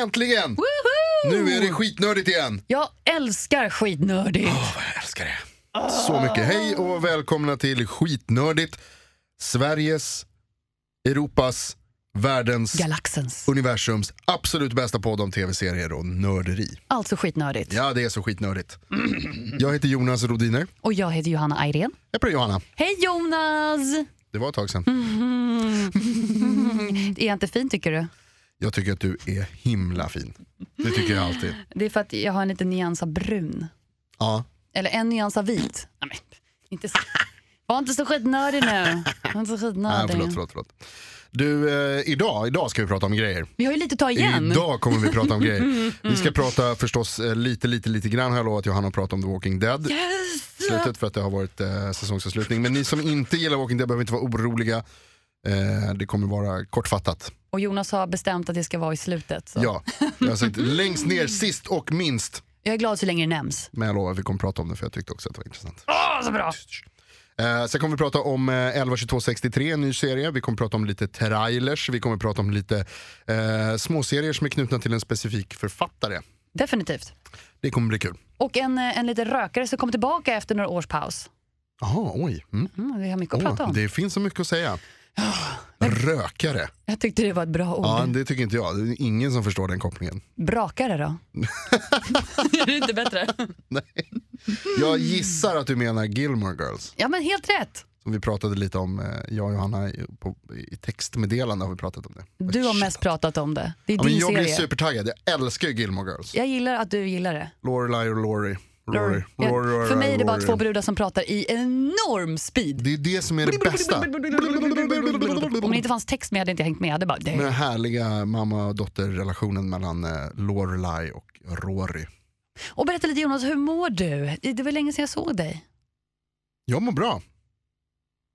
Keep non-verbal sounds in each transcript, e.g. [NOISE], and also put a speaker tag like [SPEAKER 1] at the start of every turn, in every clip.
[SPEAKER 1] Äntligen! Nu är det skitnördigt igen.
[SPEAKER 2] Jag älskar skitnördigt.
[SPEAKER 1] Åh, vad jag älskar det. Så mycket. Hej och välkomna till Skitnördigt. Sveriges, Europas, världens,
[SPEAKER 2] Galaxens.
[SPEAKER 1] universums absolut bästa podd om tv-serier och nörderi.
[SPEAKER 2] Alltså skitnördigt.
[SPEAKER 1] Ja, det är så skitnördigt. Jag heter Jonas Rodiner.
[SPEAKER 2] Och jag heter Johanna Ayrén.
[SPEAKER 1] Jag pratar Johanna.
[SPEAKER 2] Hej Jonas!
[SPEAKER 1] Det var ett tag sedan.
[SPEAKER 2] Är jag inte fin tycker du?
[SPEAKER 1] Jag tycker att du är himla fin. Det tycker jag alltid.
[SPEAKER 2] Det är för att jag har en liten nyans av brun.
[SPEAKER 1] Ja.
[SPEAKER 2] Eller en nyans av vit. Nej, men, inte så. Var inte så skitnördig nu. Var inte så
[SPEAKER 1] Nej, äh,
[SPEAKER 2] skitnördig.
[SPEAKER 1] förlåt, förlåt, förlåt. Du, eh, idag, idag ska vi prata om grejer.
[SPEAKER 2] Vi har ju lite att ta igen.
[SPEAKER 1] Idag kommer vi prata om
[SPEAKER 2] [LAUGHS]
[SPEAKER 1] grejer. Vi ska prata förstås eh, lite, lite, lite grann har jag lovat Johanna att prata om The Walking Dead.
[SPEAKER 2] Yes!
[SPEAKER 1] Slutet för att det har varit eh, säsongsavslutning. Men ni som inte gillar Walking Dead behöver inte vara oroliga. Eh, det kommer vara kortfattat.
[SPEAKER 2] Och Jonas har bestämt att det ska vara i slutet. Så.
[SPEAKER 1] Ja, jag har
[SPEAKER 2] [LAUGHS]
[SPEAKER 1] sagt längst ner, sist och minst.
[SPEAKER 2] Jag är glad så länge det nämns.
[SPEAKER 1] Men jag lovar, vi kommer prata om det för jag tyckte också att det var intressant.
[SPEAKER 2] Åh, så bra!
[SPEAKER 1] Eh, sen kommer vi prata om eh, 11.22.63, en ny serie. Vi kommer prata om lite trailers. Vi kommer prata om lite eh, småserier som är knutna till en specifik författare.
[SPEAKER 2] Definitivt.
[SPEAKER 1] Det kommer bli kul.
[SPEAKER 2] Och en, eh, en liten rökare som kom tillbaka efter några års paus.
[SPEAKER 1] Jaha, oj. Mm.
[SPEAKER 2] Mm, vi har mycket att prata
[SPEAKER 1] Åh,
[SPEAKER 2] om.
[SPEAKER 1] det finns så mycket att säga. Rökare.
[SPEAKER 2] Jag tyckte det var ett bra ord.
[SPEAKER 1] Ja, det tycker inte jag. Det är ingen som förstår den kopplingen.
[SPEAKER 2] Brakare då? [LAUGHS] är det inte bättre?
[SPEAKER 1] Jag
[SPEAKER 2] Mm.
[SPEAKER 1] gissar att du menar Gilmore Girls.
[SPEAKER 2] Ja men helt rätt.
[SPEAKER 1] Som vi pratade lite om, eh, jag och Johanna i- på, i textmeddelande har vi pratat om det.
[SPEAKER 2] Du har mest pratat om det. Det är
[SPEAKER 1] ja, men
[SPEAKER 2] din
[SPEAKER 1] Jag
[SPEAKER 2] serie.
[SPEAKER 1] blir supertaggad, jag älskar Gilmore Girls.
[SPEAKER 2] Jag gillar att du gillar det.
[SPEAKER 1] Lorelai och Lori. Rory.
[SPEAKER 2] Jag-
[SPEAKER 1] Rory, Rory,
[SPEAKER 2] För mig är det bara
[SPEAKER 1] Rory.
[SPEAKER 2] två brudar som pratar i enorm speed.
[SPEAKER 1] Det är det som är det bästa.
[SPEAKER 2] Om det inte fanns text med hade jag inte hängt med. Jag hade bara,
[SPEAKER 1] Med
[SPEAKER 2] det.
[SPEAKER 1] den härliga mamma och dotterrelationen mellan eh, Lorelai och Rory.
[SPEAKER 2] Och berätta lite Jonas, hur mår du? Det det var länge sedan jag såg dig.
[SPEAKER 1] Jag mår bra.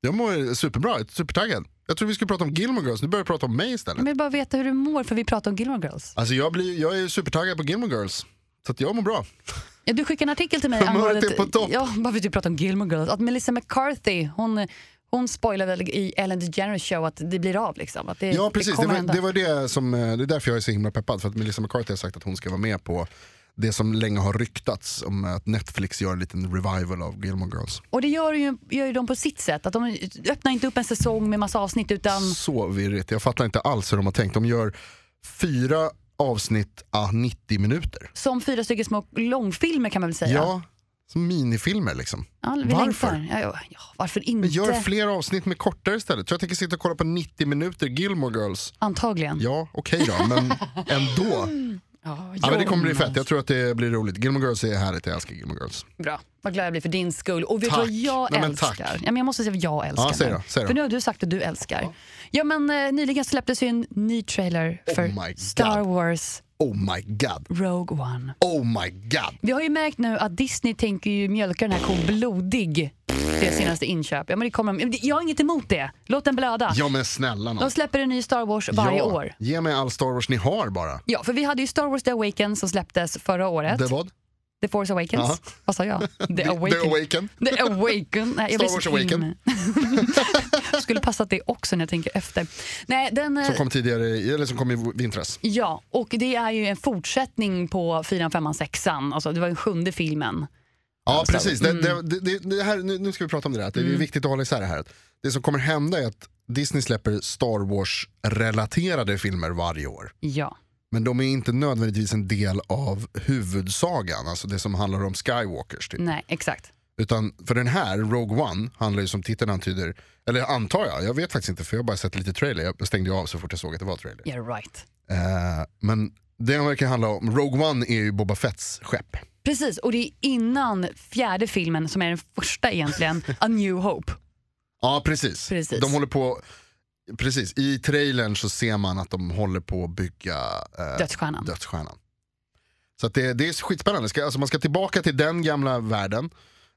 [SPEAKER 1] Jag mår superbra, jag är supertaggad. Jag tror vi skulle prata om Gilmore Girls, nu börjar vi prata om mig istället.
[SPEAKER 2] Men jag vill bara veta hur du mår för vi pratar om Gilmore Girls.
[SPEAKER 1] Alltså jag, blir, jag är supertaggad på Gilmore Girls. Så att jag mår bra.
[SPEAKER 2] Ja, du skickade en
[SPEAKER 1] [LAUGHS]
[SPEAKER 2] artikel till mig
[SPEAKER 1] Humöret
[SPEAKER 2] angående
[SPEAKER 1] är på topp.
[SPEAKER 2] Ja, bara för att du pratar om Gilmore Girls. Att Melissa McCarthy, hon, hon spoilade väl i Ellen DeGeneres show att det blir av liksom. Att det,
[SPEAKER 1] Ja precis,
[SPEAKER 2] det
[SPEAKER 1] det
[SPEAKER 2] kommer
[SPEAKER 1] var,
[SPEAKER 2] hända.
[SPEAKER 1] det var det som, eh, det är därför jag är så himla peppad. För att Melissa McCarthy har sagt att hon ska vara med på det som länge har ryktats om att Netflix gör en liten revival av Gilmore Girls.
[SPEAKER 2] Och det gör ju, gör ju de på sitt sätt. Att de öppnar inte upp en säsong med massa avsnitt utan...
[SPEAKER 1] Så virrigt, jag fattar inte alls hur de har tänkt. De gör fyra avsnitt ah, 90 minuter.
[SPEAKER 2] Som fyra stycken små långfilmer kan man väl säga.
[SPEAKER 1] Ja, som minifilmer liksom.
[SPEAKER 2] Ja, vi
[SPEAKER 1] Varför?
[SPEAKER 2] längtar. Ja, ja, ja, varför inte?
[SPEAKER 1] Men gör fler avsnitt med kortare istället. Så jag tänker sitta och kolla på 90 minuter Gilmore Girls.
[SPEAKER 2] Antagligen.
[SPEAKER 1] Ja, okej då,
[SPEAKER 2] [LAUGHS]
[SPEAKER 1] men ändå.
[SPEAKER 2] Ja,
[SPEAKER 1] Ja, men det kommer bli
[SPEAKER 2] Jonas.
[SPEAKER 1] fett, jag tror att det blir roligt. Gilmore Girls är härligt, jag älskar Gilmore Girls.
[SPEAKER 2] Bra. Vad glad jag blir för din skull. Och vet du
[SPEAKER 1] Tack.
[SPEAKER 2] vad jag
[SPEAKER 1] Nej, men
[SPEAKER 2] älskar?
[SPEAKER 1] tack.
[SPEAKER 2] Ja, men jag måste säga vad jag älskar
[SPEAKER 1] Ja, säg
[SPEAKER 2] nu.
[SPEAKER 1] då, säg då.
[SPEAKER 2] För nu har du sagt att du älskar. Ja, men, eh, nyligen släpptes ju en ny trailer för
[SPEAKER 1] Oh my God.
[SPEAKER 2] Star Wars
[SPEAKER 1] Oh my god,
[SPEAKER 2] Rogue One.
[SPEAKER 1] oh my god.
[SPEAKER 2] Vi har ju märkt nu att Disney tänker ju mjölka den här kon blodig. Det senaste inköp. Ja, men det kommer, de- jag har inget emot det. Låt den blöda.
[SPEAKER 1] Ja men snälla nån.
[SPEAKER 2] De släpper en ny Star Wars varje
[SPEAKER 1] ja,
[SPEAKER 2] år.
[SPEAKER 1] Ge mig all Star Wars ni har bara.
[SPEAKER 2] Ja, för vi hade ju Star Wars The Awakens som släpptes förra året.
[SPEAKER 1] The vad?
[SPEAKER 2] The Force Awakens.
[SPEAKER 1] Ja. [LAUGHS]
[SPEAKER 2] Vad sa jag? The
[SPEAKER 1] The
[SPEAKER 2] Awaken.
[SPEAKER 1] Awaken.
[SPEAKER 2] The Awaken. Nej, jag
[SPEAKER 1] Star
[SPEAKER 2] blir så
[SPEAKER 1] Wars Awaken.
[SPEAKER 2] himla- [LAUGHS] Skulle passat det också när jag tänker efter. Nej, den... eh,
[SPEAKER 1] Som kom tidigare, i- eller som kom i vintras.
[SPEAKER 2] Ja, och det är ju en fortsättning på 4, 5, 6. Alltså, det var den sjunde filmen.
[SPEAKER 1] Ja precis, det,
[SPEAKER 2] Mm.
[SPEAKER 1] det, det, det här, nu, nu ska vi prata om det där, att det är viktigt att hålla isär det här. Det som kommer hända är att Disney släpper Star Wars-relaterade filmer varje år.
[SPEAKER 2] Ja.
[SPEAKER 1] Men de är inte nödvändigtvis en del av huvudsagan, alltså det som handlar om Skywalkers. Typ.
[SPEAKER 2] Nej, exakt.
[SPEAKER 1] Utan för den här, Rogue One, handlar ju som titeln antyder, eller antar jag, jag vet faktiskt inte för jag har bara sett lite trailer, jag stängde ju av så fort jag såg att det var trailer.
[SPEAKER 2] You're right.
[SPEAKER 1] Eh, men den verkar handla om, Rogue One är ju Boba Fetts skepp.
[SPEAKER 2] Precis, och det är innan fjärde filmen, som är den första egentligen, A New Hope.
[SPEAKER 1] Ja precis.
[SPEAKER 2] Precis.
[SPEAKER 1] de håller på, precis, i trailern så ser man att de håller på att bygga eh,
[SPEAKER 2] Dödsstjärnan.
[SPEAKER 1] dödsstjärnan. Så att det, det är skitspännande. Ska, alltså man ska tillbaka till den gamla världen.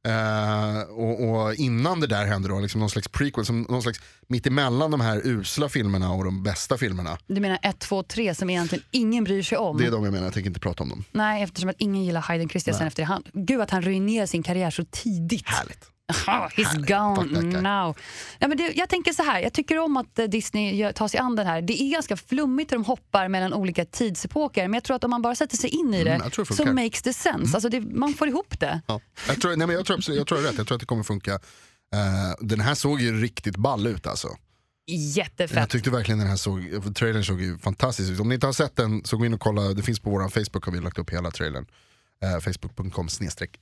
[SPEAKER 1] Eh, och, och innan det där hände då, liksom någon slags prequel, som någon slags mitt emellan de här usla filmerna och de bästa filmerna.
[SPEAKER 2] Du menar 1, 2, 3 som egentligen ingen bryr sig om.
[SPEAKER 1] Det är de jag menar, jag tänker inte prata om dem.
[SPEAKER 2] Nej, eftersom att ingen gillar Hayden Christensen efter det. Han, gud att han ruinerar sin karriär så tidigt.
[SPEAKER 1] Härligt.
[SPEAKER 2] [LAUGHS] Aha, he's
[SPEAKER 1] Härligt. Fuck that
[SPEAKER 2] gone
[SPEAKER 1] guy.
[SPEAKER 2] now. Ja, men det, jag tänker så här, jag tycker om att eh, Disney gör- tar sig an den här. Det är ganska flummigt hur de hoppar mellan olika tidsepoker men jag tror att om man bara sätter sig in i det
[SPEAKER 1] Mm, jag tror det
[SPEAKER 2] så
[SPEAKER 1] funkar. Mm.
[SPEAKER 2] makes the sense. Alltså det, man får ihop det.
[SPEAKER 1] Ja. Jag, tror, nej, men jag, tror absolut, jag tror det är rätt, jag tror att det kommer funka. Eh, den här såg ju riktigt ball ut alltså. Jag
[SPEAKER 2] Jättefett.
[SPEAKER 1] tyckte verkligen den här såg, trailern såg ju fantastisk ut. Om ni inte har sett den så gå in och kolla, det finns på vår Facebook har vi lagt upp hela trailern. Eh, Facebook.com snedstreck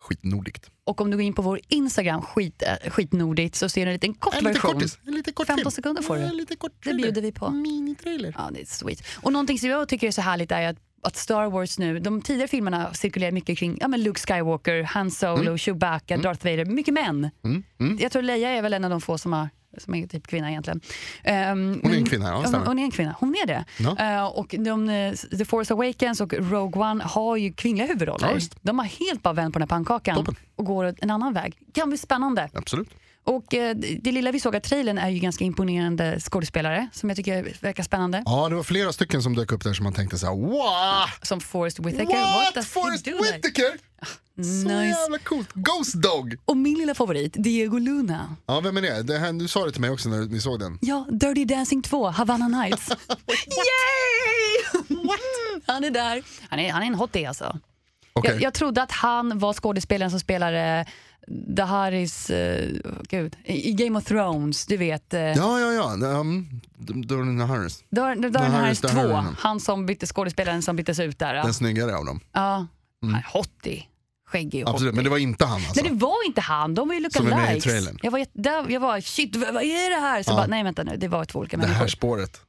[SPEAKER 1] skitnordigt.
[SPEAKER 2] Och om du går in på vår Instagram, skit, eh, skitnordigt, så ser du en liten kort
[SPEAKER 1] En liten
[SPEAKER 2] version.
[SPEAKER 1] kortis, Mm. en liten kort
[SPEAKER 2] 15
[SPEAKER 1] film.
[SPEAKER 2] sekunder får du.
[SPEAKER 1] En liten kort
[SPEAKER 2] Det
[SPEAKER 1] trailer.
[SPEAKER 2] bjuder vi på.
[SPEAKER 1] Minitrailer.
[SPEAKER 2] Ja, det är sweet. Och någonting som jag tycker är så härligt är att, att Star Wars nu, de tidigare filmerna cirkulerar mycket kring ja, men Luke Skywalker, Han Solo,
[SPEAKER 1] Mm.
[SPEAKER 2] Chewbacca, Darth Vader, mycket män. Jag tror Leia är väl en av de få som har som är typ kvinna egentligen. Ehm,
[SPEAKER 1] Hon är
[SPEAKER 2] men-
[SPEAKER 1] en kvinna, ja, det
[SPEAKER 2] hon,
[SPEAKER 1] stämmer.
[SPEAKER 2] hon är en kvinna, hon är det.
[SPEAKER 1] Ja.
[SPEAKER 2] Eh, och de, eh, The Force Awakens och Rogue One har ju kvinnliga huvudroller.
[SPEAKER 1] Ja, visst.
[SPEAKER 2] de har helt bara vänt på den här pannkakan
[SPEAKER 1] Toppen.
[SPEAKER 2] och går åt en annan väg. Kan bli spännande.
[SPEAKER 1] Absolut.
[SPEAKER 2] Och eh, det det lilla vi såg av trailern är ju ganska imponerande skådespelare som jag tycker verkar spännande.
[SPEAKER 1] Ja, det var flera stycken som dök upp där som man tänkte såhär, wow!
[SPEAKER 2] Som Forrest Whitaker. What,
[SPEAKER 1] What?
[SPEAKER 2] does
[SPEAKER 1] Forrest
[SPEAKER 2] he do there?
[SPEAKER 1] Whitaker? Så
[SPEAKER 2] Nice.
[SPEAKER 1] jävla coolt. Ghost Dog!
[SPEAKER 2] Och min lilla favorit, Diego Luna.
[SPEAKER 1] Ja, vem är det? det här, du sa det till mig också när ni såg den.
[SPEAKER 2] Ja, Dirty Dancing 2, Havana
[SPEAKER 1] [LAUGHS]
[SPEAKER 2] Nights. Yay! [LAUGHS] What? Han är där. Han är, han är en hottie alltså.
[SPEAKER 1] Okej,
[SPEAKER 2] Jag, jag trodde att han var skådespelaren som eh, spelade Daharis, uh, gud, i i Game of Thrones, du vet. Uh,
[SPEAKER 1] Ja, ja, ja. Um, Dorian Harris.
[SPEAKER 2] Dar- Dar- Darren
[SPEAKER 1] Daharis,
[SPEAKER 2] Harris 2,
[SPEAKER 1] Daharin.
[SPEAKER 2] han som bytte, skådespelaren som byttes ut där. Ja.
[SPEAKER 1] Den snyggare av dem.
[SPEAKER 2] Ja. Han är hottie, skäggig och
[SPEAKER 1] Mm. Absolut, men det var inte han alltså.
[SPEAKER 2] Nej det var inte han, de var ju
[SPEAKER 1] Som är med i
[SPEAKER 2] lookalikes.
[SPEAKER 1] trailern.
[SPEAKER 2] Jag var, jätte- där, jag var shit vad vad är det här? Så
[SPEAKER 1] Ja.
[SPEAKER 2] bara, nej vänta nu, det var två olika
[SPEAKER 1] det
[SPEAKER 2] människor.
[SPEAKER 1] här spåret.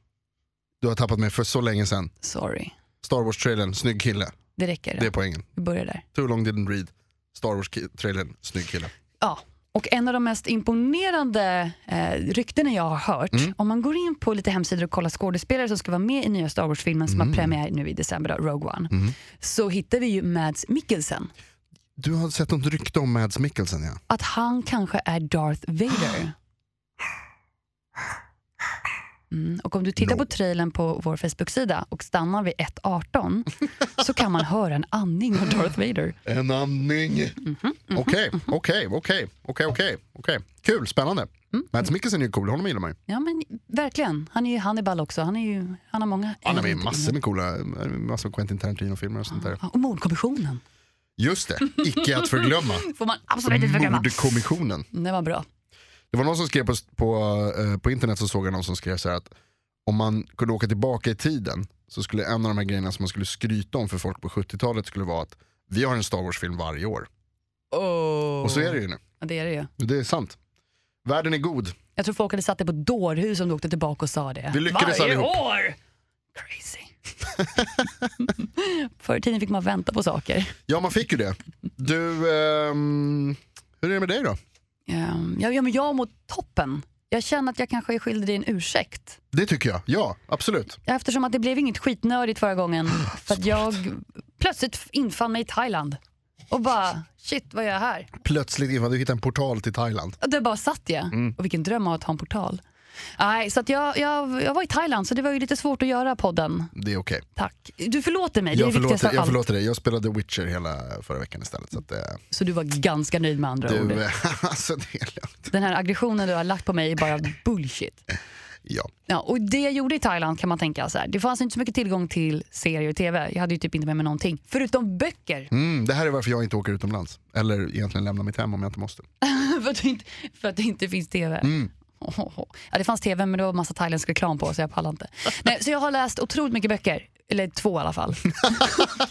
[SPEAKER 1] Du har tappat mig för så länge sedan.
[SPEAKER 2] Sorry,
[SPEAKER 1] Star Wars-trailern, snygg kille.
[SPEAKER 2] det räcker.
[SPEAKER 1] Det är poängen.
[SPEAKER 2] Vi börjar där.
[SPEAKER 1] Too long didn't read. Star Wars-trailern, snygg kille.
[SPEAKER 2] Ja. Och en av de mest imponerande eh, ryktena jag har hört,
[SPEAKER 1] Mm.
[SPEAKER 2] om man går in på lite hemsidor och kollar skådespelare som ska vara med i nya Star Wars-filmen som
[SPEAKER 1] Mm.
[SPEAKER 2] har premiär nu i december, då, Rogue One, så hittar vi ju Mads Mikkelsen.
[SPEAKER 1] Du har sett något rykte om Mads Mikkelsen ja.
[SPEAKER 2] Att han kanske är Darth Vader. Mm. Och om du tittar
[SPEAKER 1] No.
[SPEAKER 2] på trailern på vår Facebook-sida och stannar vid
[SPEAKER 1] [LAUGHS]
[SPEAKER 2] 1.18 så kan man höra en andning av Darth Vader.
[SPEAKER 1] En andning.
[SPEAKER 2] Mhm,
[SPEAKER 1] Okej, okej, okej, okej, okej, okej. Kul, spännande. Mads Mikkelsen är ju cool, honom gillar man ju.
[SPEAKER 2] Mm. Ja men verkligen, han är ju Hannibal också. Han, är ju, han har många...
[SPEAKER 1] Han har med massor med coola, massor av Quentin Tarantino-filmer och sånt där.
[SPEAKER 2] Ja, Och Mordkommissionen
[SPEAKER 1] Just det, icke att
[SPEAKER 2] [LAUGHS]
[SPEAKER 1] förglömma.
[SPEAKER 2] får man absolut inte förglömma.
[SPEAKER 1] Mordkommissionen.
[SPEAKER 2] Mm, Det var bra.
[SPEAKER 1] Det var någon som skrev på, på, eh, på internet så såg jag någon som skrev så här att om man kunde åka tillbaka i tiden så skulle en av de här grejerna som man skulle skryta om för folk på 70-talet skulle vara att vi har en Star Wars-film varje år. Och så är det ju nu.
[SPEAKER 2] Ja, det är det ju.
[SPEAKER 1] Det är sant. Världen är god.
[SPEAKER 2] Jag tror folk hade satt det på dårhus om du åkte tillbaka och sa det.
[SPEAKER 1] Vi lyckades
[SPEAKER 2] Varje
[SPEAKER 1] allihop.
[SPEAKER 2] år! Crazy. [LAUGHS] Förr i tiden fick man vänta på saker.
[SPEAKER 1] Ja, man fick ju det. Du, ehm, hur är det med dig då?
[SPEAKER 2] Ehm, Ja, ja, men jag mår toppen. Jag känner att jag kanske är skyldig dig en ursäkt.
[SPEAKER 1] Det tycker jag. Ja, absolut.
[SPEAKER 2] Eftersom att det blev inget skitnördigt
[SPEAKER 1] [GASPS]
[SPEAKER 2] förra gången. För att jag plötsligt infann mig i Thailand. Och bara, shit vad gör jag här?
[SPEAKER 1] Plötsligt Eva, du hittade en portal till Thailand.
[SPEAKER 2] Och Där bara satt jag.
[SPEAKER 1] Mm.
[SPEAKER 2] Och vilken dröm att ha en portal. Nej, så att jag, jag, jag var i Thailand så det var ju lite svårt att göra podden.
[SPEAKER 1] Det är okej.
[SPEAKER 2] Tack. Du förlåter mig, det
[SPEAKER 1] Jag,
[SPEAKER 2] är viktigast
[SPEAKER 1] förlåter,
[SPEAKER 2] av
[SPEAKER 1] jag
[SPEAKER 2] allt.
[SPEAKER 1] förlåter dig. Jag spelade Witcher hela förra veckan istället. Så att, eh,
[SPEAKER 2] Så du var ganska nöjd med andra ord.
[SPEAKER 1] du, [LAUGHS] alltså det är lugnt.
[SPEAKER 2] Den här aggressionen du har lagt på mig är bara bullshit.
[SPEAKER 1] Ja.
[SPEAKER 2] Ja, och det jag gjorde i Thailand kan man tänka så här. Det fanns inte så mycket tillgång till serier och tv. Jag hade ju typ inte med mig någonting. Förutom böcker. [LAUGHS]
[SPEAKER 1] Mm, det här är varför jag inte åker utomlands. Eller egentligen lämnar mitt hem om jag inte måste.
[SPEAKER 2] för, att det inte, för att det inte finns tv.
[SPEAKER 1] Mm.
[SPEAKER 2] Ohoho. Ja, det fanns tv men det var massa thailändsk reklam på så jag pallar inte. Nej, så jag har läst otroligt mycket böcker. Eller två i alla fall. [LAUGHS]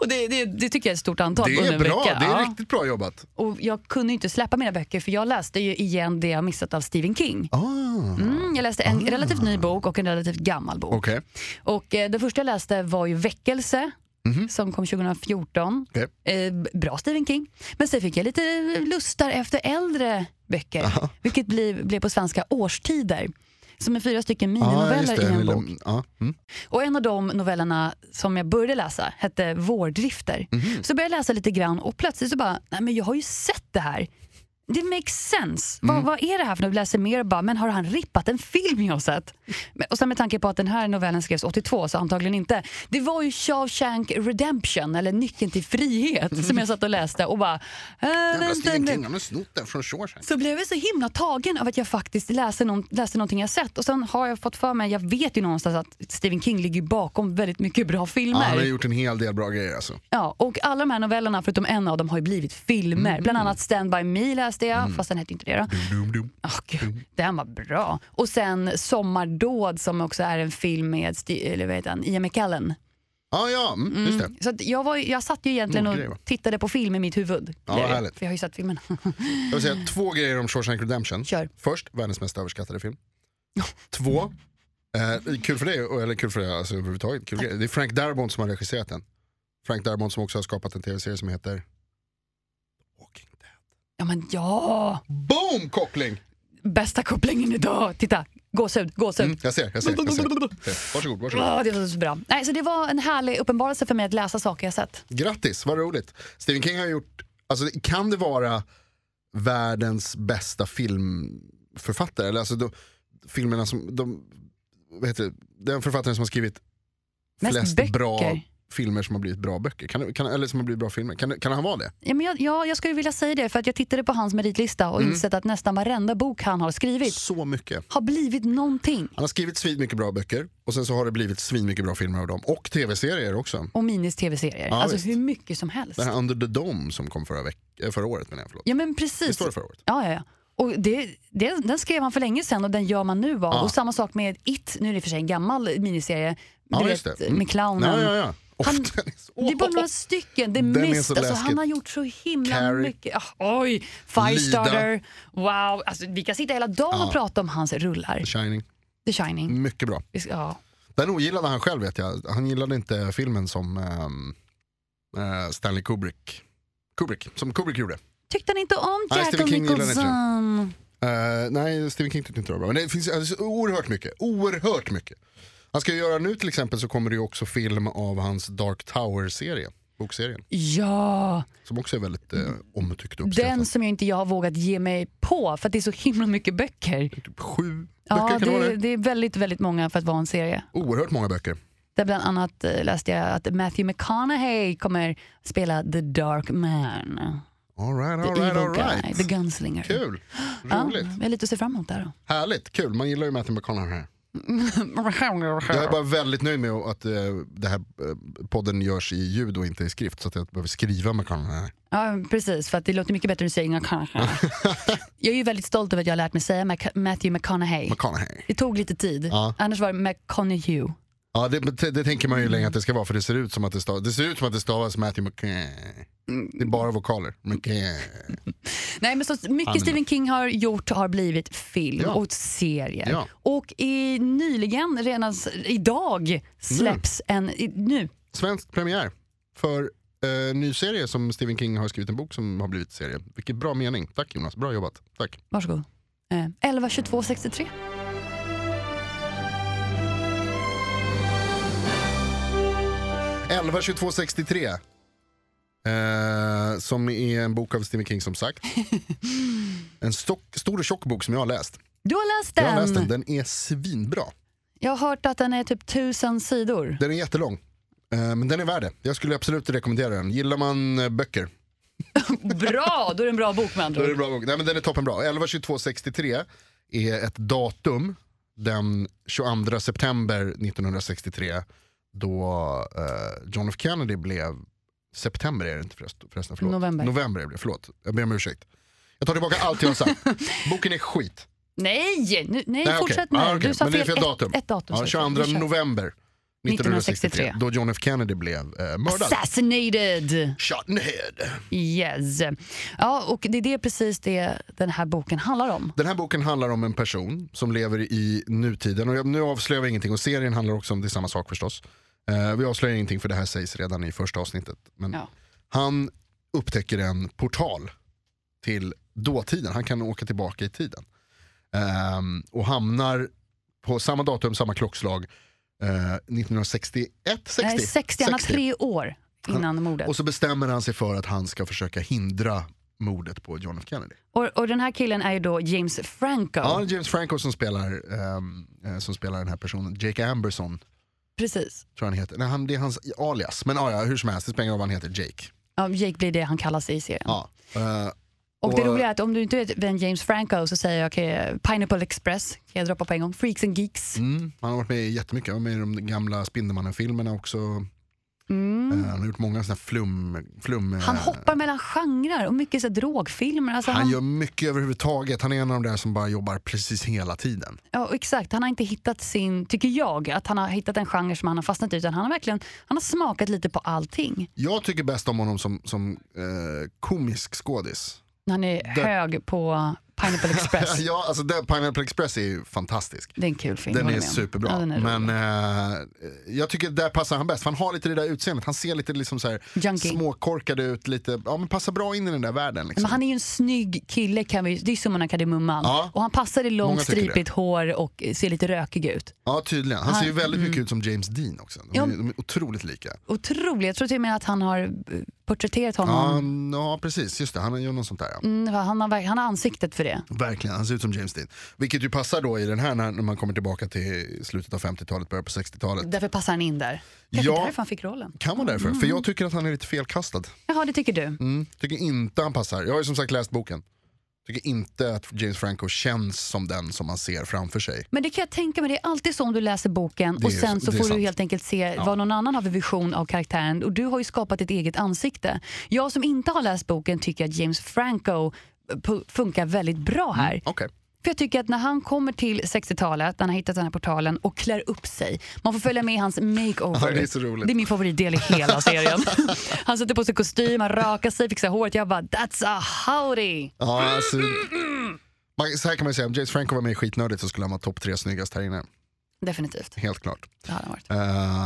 [SPEAKER 2] och det, det, det tycker jag är ett stort antal
[SPEAKER 1] Det
[SPEAKER 2] på
[SPEAKER 1] är
[SPEAKER 2] under en
[SPEAKER 1] bra,
[SPEAKER 2] vecka.
[SPEAKER 1] det är
[SPEAKER 2] Ja.
[SPEAKER 1] riktigt bra jobbat.
[SPEAKER 2] Och jag kunde ju inte släppa mina böcker för jag läste ju igen det jag missat av Stephen King.
[SPEAKER 1] Ah,
[SPEAKER 2] Mm, jag läste en relativt ny bok och en relativt gammal bok.
[SPEAKER 1] Okej,
[SPEAKER 2] Och eh, det första jag läste var ju Väckelse
[SPEAKER 1] Mhm.
[SPEAKER 2] som kom 2014.
[SPEAKER 1] Okej.
[SPEAKER 2] Eh, bra Stephen King. Men sen fick jag lite lustar efter äldre böcker. Vilket blev, blev på svenska Årstider. Som är fyra stycken
[SPEAKER 1] Ah, just
[SPEAKER 2] mininoveller i
[SPEAKER 1] det.
[SPEAKER 2] en
[SPEAKER 1] Willem-
[SPEAKER 2] bok.
[SPEAKER 1] ja, mm.
[SPEAKER 2] Och en av de novellerna som jag började läsa hette Vårdrifter. Så började jag läsa lite grann och plötsligt så bara, nej men jag har ju sett det här. Det makes sense. Vad, vad är det här för något? Vi läser mer och bara, men har han rippat en film jag har sett? Men, och sen med tanke på att den här novellen skrevs 82, så antagligen inte. Det var ju Shawshank Redemption, eller Nyckeln till frihet, som jag satt och läste och bara... Äh,
[SPEAKER 1] Jävla
[SPEAKER 2] vänta
[SPEAKER 1] Stephen
[SPEAKER 2] nu.
[SPEAKER 1] King, han har snott den från Shawshank.
[SPEAKER 2] Så blev jag så himla tagen av att jag faktiskt läste, någon, läste någonting jag sett. Och sen har jag fått för mig, jag vet ju någonstans att Stephen King ligger bakom väldigt mycket bra
[SPEAKER 1] Ja, han
[SPEAKER 2] filmer.
[SPEAKER 1] har gjort en hel del bra grejer alltså.
[SPEAKER 2] Ja, och alla de här novellerna förutom en av dem har ju blivit filmer.
[SPEAKER 1] Mm.
[SPEAKER 2] Bland annat Stand By Me läste jag, fast den hette inte det då.
[SPEAKER 1] Dum, dum.
[SPEAKER 2] Åh,
[SPEAKER 1] Mm.
[SPEAKER 2] Gud, den var bra. Och sen Sommardåd som också är en film med Sti- eller vad heter han, Ian McKellen.
[SPEAKER 1] Ja, ja, mm, just det.
[SPEAKER 2] Så att jag, var, ju- jag satt ju egentligen
[SPEAKER 1] Nordgren, va?
[SPEAKER 2] och tittade på film i mitt huvud.
[SPEAKER 1] Ja,
[SPEAKER 2] Det är det,
[SPEAKER 1] härligt.
[SPEAKER 2] För jag har ju sett filmen.
[SPEAKER 1] Jag vill säga två grejer om Shawshank Redemption.
[SPEAKER 2] Kör.
[SPEAKER 1] Först, världens mest överskattade film. Två, eh, kul för dig, eller kul för dig alltså, överhuvudtaget, kul grej. det är Frank Darabont som har regisserat den. Frank Darabont som också har skapat en tv-serie som heter Walking Dead.
[SPEAKER 2] Ja, men ja!
[SPEAKER 1] Boom koppling!
[SPEAKER 2] Bästa kopplingen idag! Titta, gåshud, gåshud.
[SPEAKER 1] Mm, jag ser, jag ser, jag ser. Varsågod, varsågod.
[SPEAKER 2] Åh, det var så bra. Nej, så det var en härlig uppenbarelse för mig att läsa saker jag sett.
[SPEAKER 1] Grattis, vad roligt. Stephen King har gjort, alltså, kan det vara världens bästa filmförfattare? Eller alltså de, filmerna som, de, vad heter det, den författaren som har skrivit
[SPEAKER 2] Mest
[SPEAKER 1] flest
[SPEAKER 2] böcker.
[SPEAKER 1] bra filmer som har blivit bra böcker. Kan, kan, eller som har blivit bra filmer. Kan, kan han vara det?
[SPEAKER 2] Ja, men jag, ja, jag skulle vilja säga det för att jag tittade på hans meritlista
[SPEAKER 1] Mm.
[SPEAKER 2] och insett att nästan varenda bok han har skrivit
[SPEAKER 1] Så mycket.
[SPEAKER 2] har blivit någonting.
[SPEAKER 1] Han har skrivit svinmycket mycket bra böcker och sen så har det blivit svinmycket mycket bra filmer av dem. Och tv-serier också.
[SPEAKER 2] Och minis tv-serier.
[SPEAKER 1] Ja,
[SPEAKER 2] alltså
[SPEAKER 1] visst.
[SPEAKER 2] hur mycket som helst.
[SPEAKER 1] Den här Under the Dome som kom förra, veck- eh, förra året menar jag. Förlåt.
[SPEAKER 2] Ja men
[SPEAKER 1] Visst
[SPEAKER 2] precis.
[SPEAKER 1] var det förra året?
[SPEAKER 2] Ja, ja, ja. Och det, det, den skrev han för länge sedan och den gör man nu av.
[SPEAKER 1] Ja.
[SPEAKER 2] Och samma sak med It, nu är det i och för sig en gammal miniserie.
[SPEAKER 1] Ja,
[SPEAKER 2] du
[SPEAKER 1] just
[SPEAKER 2] vet,
[SPEAKER 1] det. Mm.
[SPEAKER 2] med clownen.
[SPEAKER 1] Ja, ja, ja. Oh, [LAUGHS]
[SPEAKER 2] Han-
[SPEAKER 1] den är så-
[SPEAKER 2] Det är bara några stycken. The
[SPEAKER 1] Den är
[SPEAKER 2] Mist.
[SPEAKER 1] så
[SPEAKER 2] Alltså,
[SPEAKER 1] läskig.
[SPEAKER 2] han har gjort så himla
[SPEAKER 1] Carrie.
[SPEAKER 2] mycket. Ah, oj! Firestarter. Wow. Alltså, vi kan sitta hela dagen och prata om hans rullar.
[SPEAKER 1] The [LAUGHS] Shining.
[SPEAKER 2] The Shining.
[SPEAKER 1] Mycket bra.
[SPEAKER 2] Vi ska- Ja.
[SPEAKER 1] Den ogillade han själv vet jag. Han gillade inte filmen som ehm, eh, Stanley Kubrick. Kubrick, som Kubrick gjorde.
[SPEAKER 2] Tyckte han inte om
[SPEAKER 1] Nej,
[SPEAKER 2] Jack
[SPEAKER 1] Stephen King gillade inte
[SPEAKER 2] Nicholson?
[SPEAKER 1] Eh, nej, Stephen King tyckte inte det var bra. Men det finns alltså, oerhört mycket. Oerhört mycket. Han ska ju göra nu till exempel så kommer det ju också film av hans Dark Tower-serie. Bokserien.
[SPEAKER 2] Ja,
[SPEAKER 1] Som också är väldigt eh, omtyckt och uppskattad.
[SPEAKER 2] den som jag inte jag har vågat ge mig på för att det är så himla mycket böcker.
[SPEAKER 1] Typ sju böcker
[SPEAKER 2] Ja,
[SPEAKER 1] kan det vara
[SPEAKER 2] det,
[SPEAKER 1] det.
[SPEAKER 2] det är väldigt, väldigt många för att vara en serie.
[SPEAKER 1] Oerhört många böcker.
[SPEAKER 2] Där bland annat eh, läste jag att Matthew McConaughey kommer spela The Dark Man.
[SPEAKER 1] Alright,
[SPEAKER 2] The
[SPEAKER 1] alright,
[SPEAKER 2] Evil Guy,
[SPEAKER 1] alright.
[SPEAKER 2] The Gunslinger.
[SPEAKER 1] Kul,
[SPEAKER 2] Ja,
[SPEAKER 1] roligt,
[SPEAKER 2] jag är lite att se fram emot där.
[SPEAKER 1] härligt, kul. Man gillar ju Matthew McConaughey. [LAUGHS] Jag är
[SPEAKER 2] då.
[SPEAKER 1] bara väldigt nöjd med att eh, det här eh, podden görs i ljud och inte i skrift så att jag inte behöver skriva McConaughey.
[SPEAKER 2] Ja, precis, för att det låter mycket bättre än att säga
[SPEAKER 1] [LAUGHS]
[SPEAKER 2] inga kanske. Jag är ju väldigt stolt över att jag har lärt mig säga Mac- Matthew McConaughey.
[SPEAKER 1] McConaughey.
[SPEAKER 2] Det tog lite tid,
[SPEAKER 1] Ja.
[SPEAKER 2] annars var det McConaughey.
[SPEAKER 1] Ja, det, det, det tänker man ju länge att det ska vara för det ser ut som att det, stav, det, ser ut som att det stavas Matthew McConaughey. Det är bara vokaler. McConaughey.
[SPEAKER 2] Nej, men så mycket
[SPEAKER 1] men-
[SPEAKER 2] Stephen King har gjort har blivit film
[SPEAKER 1] Ja.
[SPEAKER 2] och serier.
[SPEAKER 1] Ja.
[SPEAKER 2] Och i, nyligen, redan s- idag, släpps
[SPEAKER 1] Mm.
[SPEAKER 2] en... I, nu.
[SPEAKER 1] Svensk premiär för eh, ny serie som Stephen King har skrivit en bok som har blivit serie. Vilket bra mening. Tack Jonas, bra jobbat. Tack.
[SPEAKER 2] Varsågod. Eh, 11 22 63.
[SPEAKER 1] Eh, som är en bok av Stephen King som sagt. En stock, stor och tjock bok som jag har läst.
[SPEAKER 2] Du har läst
[SPEAKER 1] Jag
[SPEAKER 2] den.
[SPEAKER 1] har läst den, den är svinbra.
[SPEAKER 2] Jag har hört att den är typ tusen sidor.
[SPEAKER 1] Den är jättelång. Eh, Men den är värd det. Jag skulle absolut rekommendera den. Gillar man eh, böcker,
[SPEAKER 2] Bra! Då är det en bra bok med andra
[SPEAKER 1] då är det en
[SPEAKER 2] ord.
[SPEAKER 1] bra bok. Nej men den är toppenbra. 11.22.63 är ett datum den 22 september 1963 då eh, John F Kennedy blev, september är det inte förresten, förresten förlåt.
[SPEAKER 2] November.
[SPEAKER 1] November är det, förlåt. Jag ber om ursäkt. Jag tar tillbaka allt jag har
[SPEAKER 2] [LAUGHS]
[SPEAKER 1] sagt. Boken är skit.
[SPEAKER 2] Nej, nu, nej,
[SPEAKER 1] Nej,
[SPEAKER 2] fortsätt
[SPEAKER 1] okej.
[SPEAKER 2] med
[SPEAKER 1] Ah, okej.
[SPEAKER 2] Du sa
[SPEAKER 1] Men det är fel datum.
[SPEAKER 2] Ett, ett
[SPEAKER 1] Ja,
[SPEAKER 2] datum. sa du.
[SPEAKER 1] 22
[SPEAKER 2] Vi kör.
[SPEAKER 1] november 1963,
[SPEAKER 2] 1963.
[SPEAKER 1] då John F Kennedy blev eh, mördad.
[SPEAKER 2] Assassinated!
[SPEAKER 1] Shot in the head.
[SPEAKER 2] Yes. Ja, och det är det precis det den här boken handlar om.
[SPEAKER 1] Den här boken handlar om en person som lever i nutiden. Och jag, nu avslöjar vi ingenting och serien handlar också om det är samma sak förstås. Eh, vi avslöjar ingenting för det här sägs redan i första avsnittet. Men
[SPEAKER 2] Ja.
[SPEAKER 1] Han upptäcker en portal till dåtiden. Han kan åka tillbaka i tiden. Ehm, och hamnar på samma datum, samma klockslag. eh, 1961, 60.
[SPEAKER 2] Nej, 60, han har tre år innan mordet.
[SPEAKER 1] Och så bestämmer han sig för att han ska försöka hindra mordet på John F Kennedy.
[SPEAKER 2] Och, och den här killen är ju då James Franco.
[SPEAKER 1] Ja, det är James Franco som spelar, ehm, eh, som spelar den här personen. Jake Amberson
[SPEAKER 2] Precis.
[SPEAKER 1] tror jag han heter. Nej, han, det är hans alias. Men ja, ja, hur som helst, det spelar ingen roll vad han heter, Jake.
[SPEAKER 2] Ja, Jake blir det han kallas i serien.
[SPEAKER 1] Ja. Eh,
[SPEAKER 2] Och det
[SPEAKER 1] Och-
[SPEAKER 2] roliga är att om du inte vet vem James Franco är så säger jag okay, Pineapple Express, kan jag droppa på en gång. Freaks and Geeks.
[SPEAKER 1] mm, han har varit med i jättemycket, han var med i de gamla Spindelmannen-filmerna också.
[SPEAKER 2] Mm.
[SPEAKER 1] Eh, han har gjort många sådana här flum... flum eh,
[SPEAKER 2] Han hoppar mellan genrer och mycket så här drogfilmer. Alltså
[SPEAKER 1] han
[SPEAKER 2] han,
[SPEAKER 1] gör mycket överhuvudtaget, han är en av de där som bara jobbar precis hela tiden.
[SPEAKER 2] ja, exakt, han har inte hittat sin, tycker jag, att han har hittat en genre som han har fastnat i utan han har verkligen han har smakat lite på allting.
[SPEAKER 1] Jag tycker bäst om honom som, som eh, komisk skådis.
[SPEAKER 2] Han är hög på Pineapple
[SPEAKER 1] [LAUGHS]
[SPEAKER 2] Express.
[SPEAKER 1] ja, alltså det, Pineapple Express är ju fantastisk.
[SPEAKER 2] Det är en kul film. jag
[SPEAKER 1] Den
[SPEAKER 2] håller
[SPEAKER 1] är
[SPEAKER 2] med om.
[SPEAKER 1] superbra.
[SPEAKER 2] Ja, den är
[SPEAKER 1] men
[SPEAKER 2] rolig.
[SPEAKER 1] eh, jag tycker där passar han bäst. För han har lite det där utseendet. Han ser lite liksom så här
[SPEAKER 2] Junkie.
[SPEAKER 1] småkorkad ut. Lite, ja, men passar bra in i den där världen. Liksom.
[SPEAKER 2] men han är ju en snygg kille, kan vi, det är summan av kardemumman.
[SPEAKER 1] Ja.
[SPEAKER 2] Och han passar i långt
[SPEAKER 1] Många tycker
[SPEAKER 2] stripigt hår och ser lite rökig ut.
[SPEAKER 1] Ja, tydligen. Han, ser ju väldigt mycket ut som James Dean också. De,
[SPEAKER 2] Mm. Ja.
[SPEAKER 1] är, de är otroligt lika.
[SPEAKER 2] Otroligt, jag tror till och med att han har eh, porträtterat
[SPEAKER 1] Ja,
[SPEAKER 2] honom.
[SPEAKER 1] ja, precis. Just det. Han gör något sånt där. Ja.
[SPEAKER 2] Mm, för han, har, verk- han har ansiktet för det.
[SPEAKER 1] Verkligen, han ser ut som James Dean. Vilket ju passar då i den här när, när man kommer tillbaka till slutet av 50-talet, början på 60-talet.
[SPEAKER 2] Därför passar han in där. Kanske
[SPEAKER 1] Ja.
[SPEAKER 2] därför han fick rollen.
[SPEAKER 1] Kan vara
[SPEAKER 2] Mm.
[SPEAKER 1] därför, för jag tycker att han är lite felkastad.
[SPEAKER 2] Jaha, det tycker du.
[SPEAKER 1] Mm, tycker inte han passar. Jag har ju som sagt läst boken. Tycker inte att James Franco känns som den som man ser framför sig.
[SPEAKER 2] Men det kan jag tänka mig, det är alltid så om du läser boken
[SPEAKER 1] Det är
[SPEAKER 2] och sen
[SPEAKER 1] ju-
[SPEAKER 2] så
[SPEAKER 1] det är
[SPEAKER 2] får du
[SPEAKER 1] sant.
[SPEAKER 2] helt enkelt se vad någon annan har för vision av karaktären och du har ju skapat ditt eget ansikte. Jag som inte har läst boken tycker att James Franco eh, pu- funkar väldigt bra här.
[SPEAKER 1] Okej.
[SPEAKER 2] För jag tycker att när han kommer till 60-talet, när han har hittat den här portalen och klär upp sig. Man får följa med i hans makeover.
[SPEAKER 1] Ja, det är så roligt.
[SPEAKER 2] Det är min favoritdel i hela serien. [LAUGHS] han sätter på sig kostym, han rakar sig, fixar håret. Jag bara, that's a howdy!
[SPEAKER 1] Ja, alltså, man, så här kan man ju säga, om James Franco var med i Skitnördigt så skulle han vara topp tre snyggast här inne.
[SPEAKER 2] Definitivt.
[SPEAKER 1] Helt klart.
[SPEAKER 2] Det hade han varit.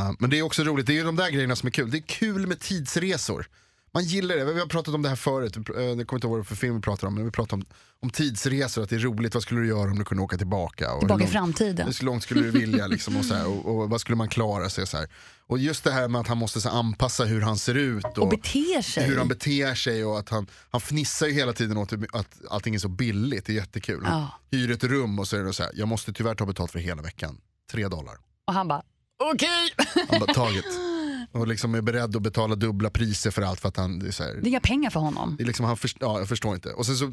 [SPEAKER 1] Eh, men det är också roligt, det är ju de där grejerna som är kul. Det är kul med tidsresor. Man gillar det, vi har pratat om det här förut, eh, jag kommer inte ihåg vad för film vi pratade om, men vi pratade om, om tidsresor, att det är roligt, vad skulle du göra om du kunde åka tillbaka? Och
[SPEAKER 2] Bak i
[SPEAKER 1] hur långt-
[SPEAKER 2] framtiden.
[SPEAKER 1] Hur långt skulle du vilja liksom, och, så här, och, och vad skulle man klara sig? Så här. Och just det här med att han måste så här, anpassa hur han ser ut och,
[SPEAKER 2] Och beter sig.
[SPEAKER 1] hur han beter sig och att han, han fnissar ju hela tiden åt hur- att allting är så billigt, det är jättekul. Han
[SPEAKER 2] Ja.
[SPEAKER 1] hyr ett rum och så är det så här, jag måste tyvärr ta betalt för hela veckan, tre dollar.
[SPEAKER 2] Och han bara, okej!
[SPEAKER 1] Han bara taget. Och liksom är beredd att betala dubbla priser för allt för att han, det är så här,
[SPEAKER 2] Det är inga pengar för honom.
[SPEAKER 1] det är liksom, han först, ja, jag förstår inte. Och sen så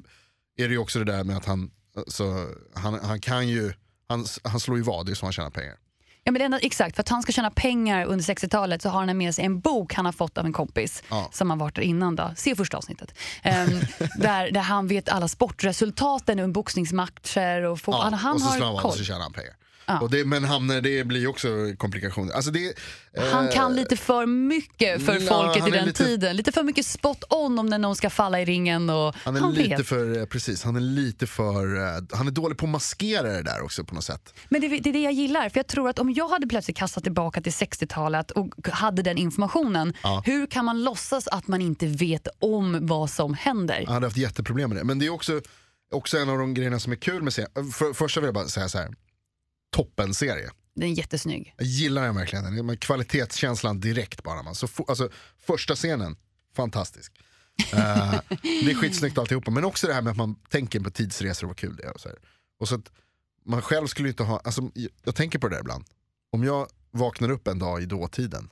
[SPEAKER 1] är det ju också det där med att han, så, han, han kan ju, han, han slår ju vad, det är så han tjänar pengar.
[SPEAKER 2] Ja, men det enda, exakt, för att han ska tjäna pengar under 60-talet så har han med sig en bok han har fått av en kompis
[SPEAKER 1] Ja.
[SPEAKER 2] som han varit där innan. Då. Se första avsnittet.
[SPEAKER 1] [LAUGHS]
[SPEAKER 2] Ehm, där, där han vet alla sportresultaten under boxningsmatcher. Och få, han, han
[SPEAKER 1] och så
[SPEAKER 2] har
[SPEAKER 1] slår han vad och
[SPEAKER 2] koll.
[SPEAKER 1] så tjänar han pengar. Och det, men hamnar, det blir ju också komplikationer. Alltså det, eh,
[SPEAKER 2] Han kan lite för mycket för
[SPEAKER 1] ja,
[SPEAKER 2] folket
[SPEAKER 1] han
[SPEAKER 2] i
[SPEAKER 1] är
[SPEAKER 2] den
[SPEAKER 1] lite-
[SPEAKER 2] tiden. Lite för mycket spot on om när någon ska falla i ringen. Och,
[SPEAKER 1] han är
[SPEAKER 2] han
[SPEAKER 1] lite
[SPEAKER 2] vet.
[SPEAKER 1] för, eh, precis, han är lite för, eh, han är dålig på att maskera det där också på något sätt.
[SPEAKER 2] Men det, det är det jag gillar. För jag tror att om jag hade plötsligt kastat tillbaka till 60-talet och hade den informationen, hur kan man låtsas att man inte vet om vad som händer?
[SPEAKER 1] Han hade haft jätteproblem med det. Men det är också, också en av de grejerna som är kul med serien. För, först vill jag bara säga så här. Toppen serie.
[SPEAKER 2] Den är jättesnygg.
[SPEAKER 1] Jag gillar den verkligen. Den- men Kvalitetskänslan direkt bara. Man. Så, fo- alltså, första scenen, fantastisk.
[SPEAKER 2] [LAUGHS]
[SPEAKER 1] Eh, det är skitsnyggt alltihopa. Men också det här med att man tänker på tidsresor och vad kul det är. Och så här. Och så att man själv skulle inte ha, alltså, jag- jag tänker på det där ibland. Om jag vaknar upp en dag i dåtiden.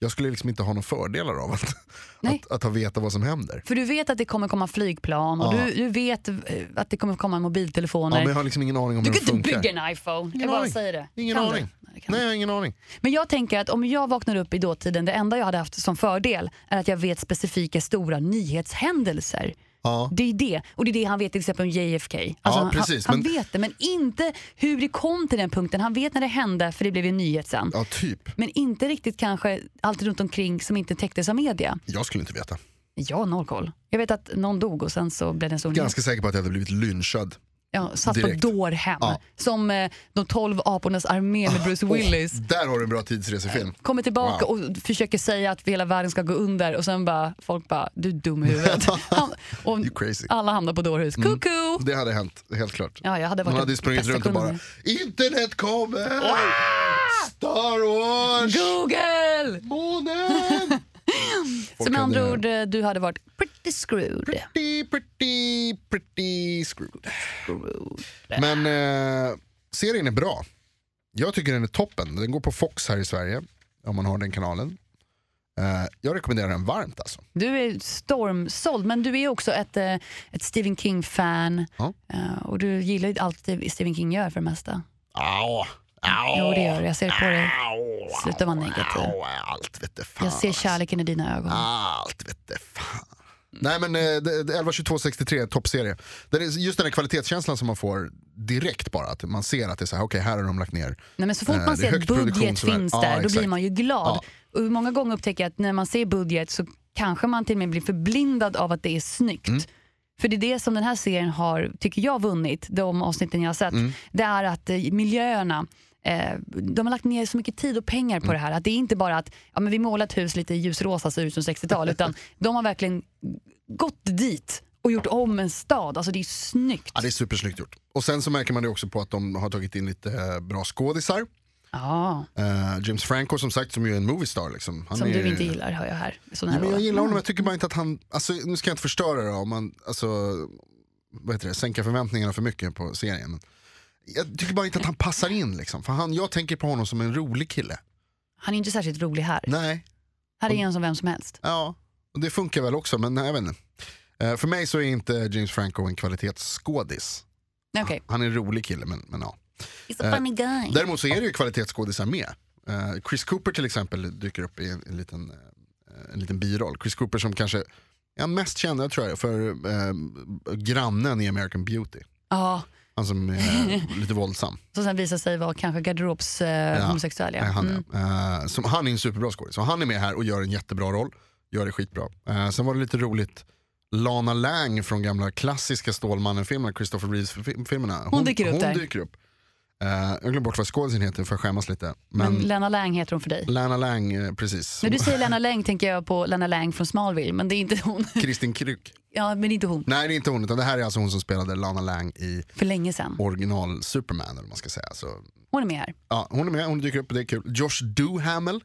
[SPEAKER 1] Jag skulle liksom inte ha några fördelar av att,
[SPEAKER 2] [LAUGHS] Nej.
[SPEAKER 1] att, att ha veta vad som händer.
[SPEAKER 2] För du vet att det kommer komma flygplan och
[SPEAKER 1] Ja.
[SPEAKER 2] du, du vet eh, att det kommer komma
[SPEAKER 1] Ja,
[SPEAKER 2] mobiltelefoner.
[SPEAKER 1] men jag har liksom ingen aning om
[SPEAKER 2] du
[SPEAKER 1] hur
[SPEAKER 2] kan
[SPEAKER 1] de
[SPEAKER 2] inte
[SPEAKER 1] funkar.
[SPEAKER 2] bygga en iPhone, jag
[SPEAKER 1] Ingen
[SPEAKER 2] bara
[SPEAKER 1] aning.
[SPEAKER 2] säger det.
[SPEAKER 1] Ingen
[SPEAKER 2] kan du?
[SPEAKER 1] aning.
[SPEAKER 2] Nej, det kan
[SPEAKER 1] Nej
[SPEAKER 2] du.
[SPEAKER 1] jag har ingen aning.
[SPEAKER 2] Men jag tänker att om jag vaknar upp i dåtiden, det enda jag hade haft som fördel är att jag vet specifika stora nyhetshändelser.
[SPEAKER 1] Ja.
[SPEAKER 2] Det är det. Och det är det han vet till exempel om JFK. Alltså,
[SPEAKER 1] Ja,
[SPEAKER 2] han-
[SPEAKER 1] precis,
[SPEAKER 2] han, han
[SPEAKER 1] men-
[SPEAKER 2] vet det, men inte hur det kom till den punkten. Han vet när det hände, för det blev ju en nyhet sen.
[SPEAKER 1] ja typ,
[SPEAKER 2] Men inte riktigt kanske allt runt omkring som inte täcktes av media.
[SPEAKER 1] jag skulle inte veta.
[SPEAKER 2] Jag har noll koll. Jag vet att någon dog och sen så blev det en stor nyhet.
[SPEAKER 1] Ganska säker på att jag hade blivit lynchad.
[SPEAKER 2] Ja, satt
[SPEAKER 1] Direkt.
[SPEAKER 2] på dårhem.
[SPEAKER 1] Ja.
[SPEAKER 2] Som eh, de tolv apornas
[SPEAKER 1] [LAUGHS]
[SPEAKER 2] armé med Bruce Willis.
[SPEAKER 1] Åh, där har du en bra tidsresefilm.
[SPEAKER 2] Kommer tillbaka och försöker säga att hela världen ska gå under och sen bara, folk bara, du är dum
[SPEAKER 1] [LAUGHS]
[SPEAKER 2] i huvudet. Han, och
[SPEAKER 1] You crazy.
[SPEAKER 2] alla hamnar på dårhus. Kucku!
[SPEAKER 1] Det hade hänt, helt klart.
[SPEAKER 2] Ja, typ jag hade
[SPEAKER 1] Man Mm.
[SPEAKER 2] varit
[SPEAKER 1] hade ju
[SPEAKER 2] den
[SPEAKER 1] sprungit
[SPEAKER 2] bästa
[SPEAKER 1] runt och bara
[SPEAKER 2] kunden.
[SPEAKER 1] “Internet kommer! Star Wars!
[SPEAKER 2] Google! [LAUGHS]
[SPEAKER 1] Månen! Folk
[SPEAKER 2] Så med andra
[SPEAKER 1] hade-
[SPEAKER 2] ord, eh, du hade varit pretty screwed.
[SPEAKER 1] Pretty, pretty, pretty screwed. Men eh, serien är bra. Jag tycker den är toppen. Den går på Fox här i Sverige, om man har den kanalen. Eh, jag rekommenderar den varmt alltså.
[SPEAKER 2] Du är stormsåld, men du är också ett, eh, ett Stephen King-fan.
[SPEAKER 1] Ja.
[SPEAKER 2] Eh, Och du gillar ju allt det Stephen King gör för det mesta.
[SPEAKER 1] Au, au,
[SPEAKER 2] Jo, det gör du. Jag ser på dig.
[SPEAKER 1] au,
[SPEAKER 2] Sluta vara negativ.
[SPEAKER 1] au, Allt vette fan.
[SPEAKER 2] Jag ser kärleken i dina ögon.
[SPEAKER 1] Allt vette fan. Nej men eh, det- det- 11.22.63 är toppserie. Den är- Just den här kvalitetskänslan som man får direkt bara. Att man ser att det är så här, okej här har de lagt ner.
[SPEAKER 2] Nej, men så fort
[SPEAKER 1] Eh,
[SPEAKER 2] man
[SPEAKER 1] det är
[SPEAKER 2] ser att
[SPEAKER 1] högt
[SPEAKER 2] budget
[SPEAKER 1] produktionsvärde.
[SPEAKER 2] finns
[SPEAKER 1] Ja,
[SPEAKER 2] där, då
[SPEAKER 1] exakt.
[SPEAKER 2] blir man ju glad. Och många gånger upptäcker jag att när man ser budget så kanske man till och med blir förblindad av att det är snyggt.
[SPEAKER 1] Mm.
[SPEAKER 2] För det är det som den här serien har, tycker jag, vunnit, de avsnitten jag har sett.
[SPEAKER 1] Mm.
[SPEAKER 2] Det är att eh, miljöerna, eh, de har lagt ner så mycket tid och pengar på
[SPEAKER 1] Mm.
[SPEAKER 2] det här. Att det är inte bara att ja, men vi målar ett hus lite ljusrosa, ser ut
[SPEAKER 1] [LAUGHS]
[SPEAKER 2] som 60-tal, utan de har verkligen gått dit och gjort om en stad. Alltså det är snyggt.
[SPEAKER 1] Ja, det är supersnyggt gjort. Och sen så märker man det också på att de har tagit in lite eh, bra skådisar.
[SPEAKER 2] Ja,
[SPEAKER 1] Eh, James Franco som sagt, som ju är en moviestar. Liksom. Han
[SPEAKER 2] som
[SPEAKER 1] är...
[SPEAKER 2] du inte gillar, hör jag här. Sån här Mm.
[SPEAKER 1] Ja, men jag
[SPEAKER 2] roll.
[SPEAKER 1] gillar honom, jag tycker bara inte att han, alltså, nu ska jag inte förstöra det om man, alltså, vad heter det, sänka förväntningarna för mycket på serien. Men jag tycker bara inte att han passar in liksom, för han, jag tänker på honom som en rolig kille.
[SPEAKER 2] Han är ju inte särskilt rolig här.
[SPEAKER 1] Nej,
[SPEAKER 2] Här är en som vem som helst.
[SPEAKER 1] ja, och det funkar väl också, men nej, jag vet inte. Eh, för mig så är inte James Franco en kvalitetsskådis.
[SPEAKER 2] Nej, Okej.
[SPEAKER 1] Han är en rolig kille, men, men ja.
[SPEAKER 2] He's a funny guy.
[SPEAKER 1] Däremot så är det ju kvalitetsskådisar med. Eh, Chris Cooper till exempel dyker upp i en, en, liten, eh, en liten biroll. Chris Cooper som kanske är han mest känd jag tror jag, för eh, grannen i American Beauty.
[SPEAKER 2] Ja,
[SPEAKER 1] Han som är lite våldsam.
[SPEAKER 2] som sen visar sig vara kanske garderobs eh,
[SPEAKER 1] Ja.
[SPEAKER 2] homosexuell. Ja.
[SPEAKER 1] Nej, han, är.
[SPEAKER 2] Mm.
[SPEAKER 1] Eh, som, han är en superbra skådis. Så han är med här och gör en jättebra roll. Gör det skitbra. Eh, sen var det lite roligt Lana Lang från gamla klassiska Stålmannen-filmerna, Christopher Reeves-filmerna. Hon,
[SPEAKER 2] dyker upp
[SPEAKER 1] hon
[SPEAKER 2] där.
[SPEAKER 1] Dyker upp. Eh, jag glömde bort vad skådisen heter för jag skämmas lite.
[SPEAKER 2] Men
[SPEAKER 1] Men
[SPEAKER 2] Lena Lang heter hon för dig.
[SPEAKER 1] Lana Lang, eh, precis.
[SPEAKER 2] När du säger Lena Lang tänker jag på Lena Lang från Smallville, men det är inte hon. [LAUGHS]
[SPEAKER 1] Kristin Kryck.
[SPEAKER 2] Ja, men det är inte hon.
[SPEAKER 1] Nej det är inte hon, utan det här är alltså hon som spelade Lana Lang i
[SPEAKER 2] För länge sedan.
[SPEAKER 1] original Superman. Eller vad man ska säga. Så,
[SPEAKER 2] Hon är med här.
[SPEAKER 1] ja, hon är med, hon dyker upp och det är kul. Josh Duhamel,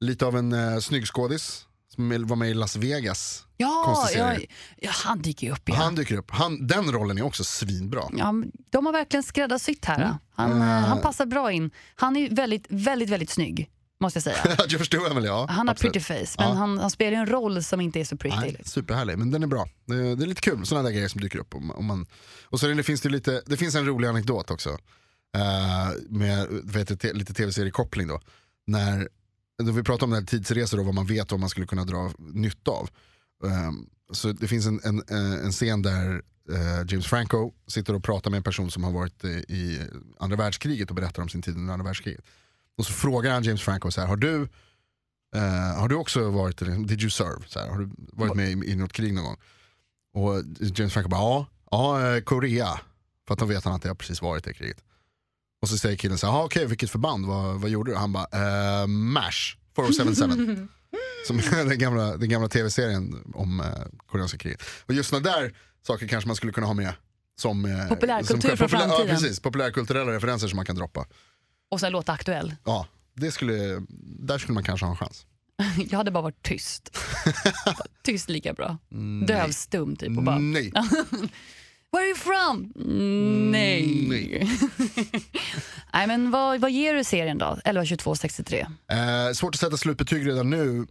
[SPEAKER 1] lite av en eh, snygg skådis. Som var med i Las Vegas.
[SPEAKER 2] Ja,
[SPEAKER 1] Konstig
[SPEAKER 2] ja,
[SPEAKER 1] serie.
[SPEAKER 2] ja han dyker ju upp igen.
[SPEAKER 1] Han dyker upp. Han, den rollen är också svinbra. [LAUGHS]
[SPEAKER 2] Ja, men de har verkligen skräddarsytt här. då. Han, eh,
[SPEAKER 1] Eh.
[SPEAKER 2] han passar bra in. Han är ju väldigt, väldigt, väldigt snygg, måste jag säga.
[SPEAKER 1] Josh Duhamel ja.
[SPEAKER 2] Han har
[SPEAKER 1] absolut.
[SPEAKER 2] pretty face, men
[SPEAKER 1] Ja.
[SPEAKER 2] han, han spelar ju en roll som inte är så pretty.
[SPEAKER 1] Nej, superhärlig, men den är bra. Eh, Det, det är lite kul, sådana där grejer som dyker upp. Om, om man, och sen är det, finns det, lite, det finns en rolig anekdot också. eh, med vet, du, te, lite tv-seriekoppling då. När, då vi pratade om det här tidsresor och vad man vet om man skulle kunna dra nytta av. Ehm, så det finns en, en, eh, en scen där eh, James Franco sitter och pratar med en person som har varit i, i andra världskriget och berättar om sin tid under andra världskriget. Och så frågar han James Franco så här, har du Eh, har du också varit, liksom, did you serve? Så här, har du varit med i, i något krig någon gång? Och James Franco bara, ja, ja eh, Korea. För att de vet han att jag precis varit i det kriget. Och så säger killen så här, "Ja, okej vilket förband, vad, vad gjorde du? Han bara, eh, MASH 4077.
[SPEAKER 2] [LAUGHS]
[SPEAKER 1] Som är den gamla, den gamla tv-serien om eh, koreanska kriget. Och just sådana där saker kanske man skulle kunna ha med. Som, eh,
[SPEAKER 2] Populärkultur
[SPEAKER 1] som,
[SPEAKER 2] från
[SPEAKER 1] ja,
[SPEAKER 2] framtiden.
[SPEAKER 1] precis, populärkulturella referenser som man kan droppa.
[SPEAKER 2] Och sen låta aktuell.
[SPEAKER 1] Ja, det skulle, där skulle man kanske ha en chans.
[SPEAKER 2] Jag hade bara varit tyst.
[SPEAKER 1] [LAUGHS]
[SPEAKER 2] tyst lika bra.
[SPEAKER 1] Mm,
[SPEAKER 2] Döv, stum typ. Och bara,
[SPEAKER 1] Nej.
[SPEAKER 2] Where are you from? Mm, Nej.
[SPEAKER 1] nej.
[SPEAKER 2] [LAUGHS] Nej men vad, vad ger du serien då? 11, 22, 63.
[SPEAKER 1] Eh, svårt att sätta slutbetyg redan nu,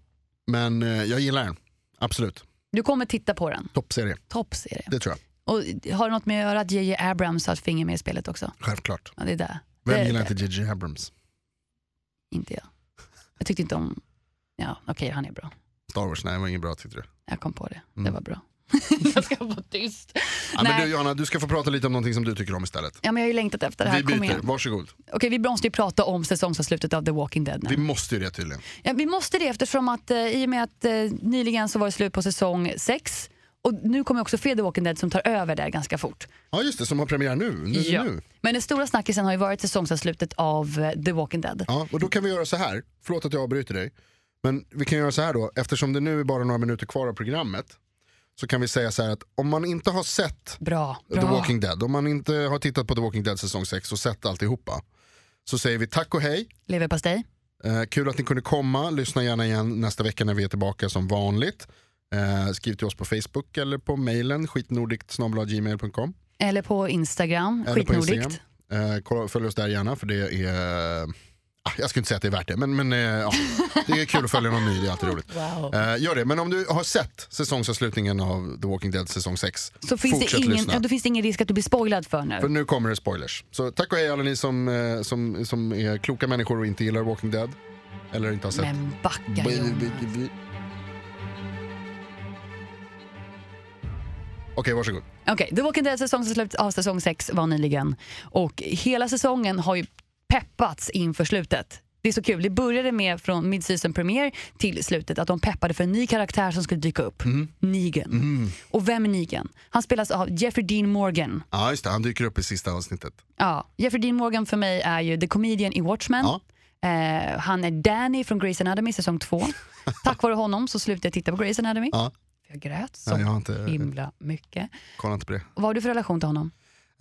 [SPEAKER 1] men eh, jag gillar den. Absolut.
[SPEAKER 2] Du kommer titta på den.
[SPEAKER 1] Toppserie,
[SPEAKER 2] Toppserie.
[SPEAKER 1] det tror jag.
[SPEAKER 2] Och har det något med att göra att J.J. Abrams har ett finger med i spelet också?
[SPEAKER 1] Självklart.
[SPEAKER 2] Ja, det är där.
[SPEAKER 1] Vem
[SPEAKER 2] det,
[SPEAKER 1] gillar
[SPEAKER 2] det,
[SPEAKER 1] inte J.J. Abrams?
[SPEAKER 2] inte jag. Jag tyckte inte om... Ja, okej, han är bra.
[SPEAKER 1] Star Wars, nej det var ingen bra tyckte du.
[SPEAKER 2] Jag kom på det. Det
[SPEAKER 1] Mm. [LAUGHS]
[SPEAKER 2] var bra. jag ska vara tyst.
[SPEAKER 1] Ja, men
[SPEAKER 2] Nej.
[SPEAKER 1] du Johanna, du ska få prata lite om någonting som du tycker om istället.
[SPEAKER 2] Ja, men jag har ju längtat efter det här.
[SPEAKER 1] Vi
[SPEAKER 2] Kom
[SPEAKER 1] byter,
[SPEAKER 2] igen.
[SPEAKER 1] varsågod.
[SPEAKER 2] Okej, vi måste ju prata om säsongsavslutet av The Walking Dead nu.
[SPEAKER 1] Vi måste ju det tydligen.
[SPEAKER 2] Ja, vi måste det eftersom att eh, i och med att eh, nyligen så var det slut på säsong 6 och nu kommer också Fear the Walking Dead som tar över där ganska fort.
[SPEAKER 1] Ja just det, som har premiär nu. nu,
[SPEAKER 2] Ja.
[SPEAKER 1] nu.
[SPEAKER 2] Men den stora snackisen har ju varit säsongsavslutet av eh, The Walking Dead.
[SPEAKER 1] Ja, och då kan vi göra så här, förlåt att jag avbryter dig. Men vi kan göra så här då, eftersom det nu är bara några minuter kvar av programmet. Så kan vi säga så här att om man inte har sett
[SPEAKER 2] Bra, bra.
[SPEAKER 1] The Walking Dead. Om man inte har tittat på The Walking Dead säsong 6 och sett alltihopa så säger vi tack och hej,
[SPEAKER 2] Leverpastej.
[SPEAKER 1] Eh, kul att ni kunde komma. Lyssna gärna igen nästa vecka när vi är tillbaka som vanligt. Eh, skriv till oss på Facebook eller på mejlen skitnordikt.gmail.com
[SPEAKER 2] Eller på Instagram,
[SPEAKER 1] eller på Instagram.
[SPEAKER 2] skitnordigt.
[SPEAKER 1] Eh, kolla- följ oss där gärna för det är... ah, jag skulle inte säga att det är värt det, men, men eh, ja. det är kul att följa någon ny, det är alltid roligt.
[SPEAKER 2] Wow.
[SPEAKER 1] Eh, gör det, men om du har sett säsongsavslutningen av The Walking Dead säsong 6,
[SPEAKER 2] Så finns det,
[SPEAKER 1] fortsätt
[SPEAKER 2] ingen,
[SPEAKER 1] lyssna.
[SPEAKER 2] ja, då finns det ingen risk att du blir spoilad för nu.
[SPEAKER 1] För nu kommer det spoilers. Så tack och hej alla ni som, eh, som, som är kloka människor och inte gillar Walking Dead. Eller inte har sett.
[SPEAKER 2] Men backa
[SPEAKER 1] B-
[SPEAKER 2] Jonas.
[SPEAKER 1] b- b- b- Okej, varsågod.
[SPEAKER 2] Okej, The Walking Dead säsongsavslut av säsong 6 var nyligen. Och hela säsongen har ju peppats inför slutet. Det är så kul. Det började med från midseason premiere till slutet att de peppade för en ny karaktär som skulle dyka upp.
[SPEAKER 1] Mm.
[SPEAKER 2] Negan. Och vem är Negan? Han spelas av Jeffrey Dean Morgan.
[SPEAKER 1] Ja, just det. Han dyker upp i sista avsnittet.
[SPEAKER 2] Ja, Jeffrey Dean Morgan för mig är ju the comedian i Watchmen.
[SPEAKER 1] Ja.
[SPEAKER 2] Eh, han är Danny från Grey's Anatomy
[SPEAKER 1] [LAUGHS]
[SPEAKER 2] säsong 2. Tack vare honom så slutade jag titta på Grey's Anatomy.
[SPEAKER 1] Ja.
[SPEAKER 2] Jag grät så
[SPEAKER 1] Nej, jag har inte
[SPEAKER 2] himla mycket.
[SPEAKER 1] kollat inte på det.
[SPEAKER 2] Vad har du för relation till honom?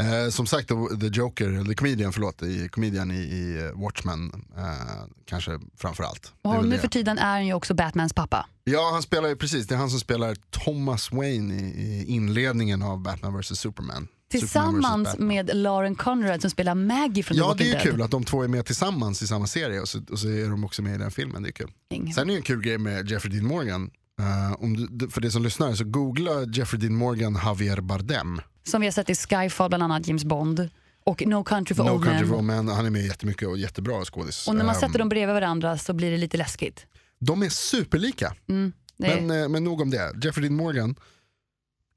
[SPEAKER 1] Eh, som sagt, The- The Joker, The Comedian, förlåt, i, Comedian i, i eh, Watchmen, eh, kanske framför allt. Det är
[SPEAKER 2] Och
[SPEAKER 1] väl
[SPEAKER 2] nu
[SPEAKER 1] det.
[SPEAKER 2] för tiden är han ju också Batmans pappa.
[SPEAKER 1] Ja, han spelar ju precis. Det är han som spelar Thomas Wayne i, i inledningen av Batman vs Superman. Superman vs.
[SPEAKER 2] Tillsammans
[SPEAKER 1] Batman.
[SPEAKER 2] med Lauren Conrad som spelar Maggie från The
[SPEAKER 1] Ja,
[SPEAKER 2] Typ Walking
[SPEAKER 1] det är ju
[SPEAKER 2] Dead.
[SPEAKER 1] kul att de två är med tillsammans i samma serie och så, och så är de också med i den filmen. Det är kul. Sen är det ju en kul grej med Jeffrey Dean Morgan. Eh, om du, du- för det som lyssnar, så googla Jeffrey Dean Morgan Javier Bardem.
[SPEAKER 2] Som vi har sett i Skyfall, bland annat James Bond. Och No Country for
[SPEAKER 1] No
[SPEAKER 2] Old
[SPEAKER 1] Country
[SPEAKER 2] Men.
[SPEAKER 1] for Old Men, han är med jättemycket och jättebra skådis.
[SPEAKER 2] Och när man
[SPEAKER 1] Eh,
[SPEAKER 2] sätter dem bredvid varandra så blir det lite läskigt. Mm,
[SPEAKER 1] de är superlika.
[SPEAKER 2] Det är-
[SPEAKER 1] Men, eh, men nog om det. Jeffrey Dean Morgan,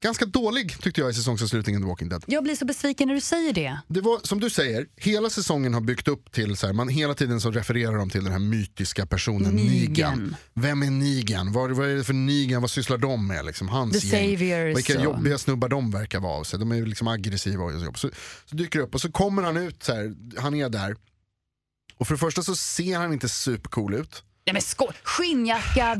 [SPEAKER 1] ganska dålig tyckte jag i säsongsavslutningen The Walking Dead.
[SPEAKER 2] Jag blir så besviken när du säger det.
[SPEAKER 1] Det var som du säger, hela säsongen har byggt upp till, så här, man hela tiden så refererar de till den här mytiska personen Negan.
[SPEAKER 2] Negan.
[SPEAKER 1] Vem är Negan? Vad, vad är det för Negan? Vad sysslar de med? Liksom, hans
[SPEAKER 2] The
[SPEAKER 1] gäng.
[SPEAKER 2] Saviors.
[SPEAKER 1] Vilka
[SPEAKER 2] och-
[SPEAKER 1] jobbiga snubbar de verkar vara av sig. De är ju liksom aggressiva och jobb. Så, så dyker det upp och så kommer han ut, så här, han är där. Och för det första så ser han inte supercool ut.
[SPEAKER 2] Nej men skål!
[SPEAKER 1] [LAUGHS]
[SPEAKER 2] Skinnjacka,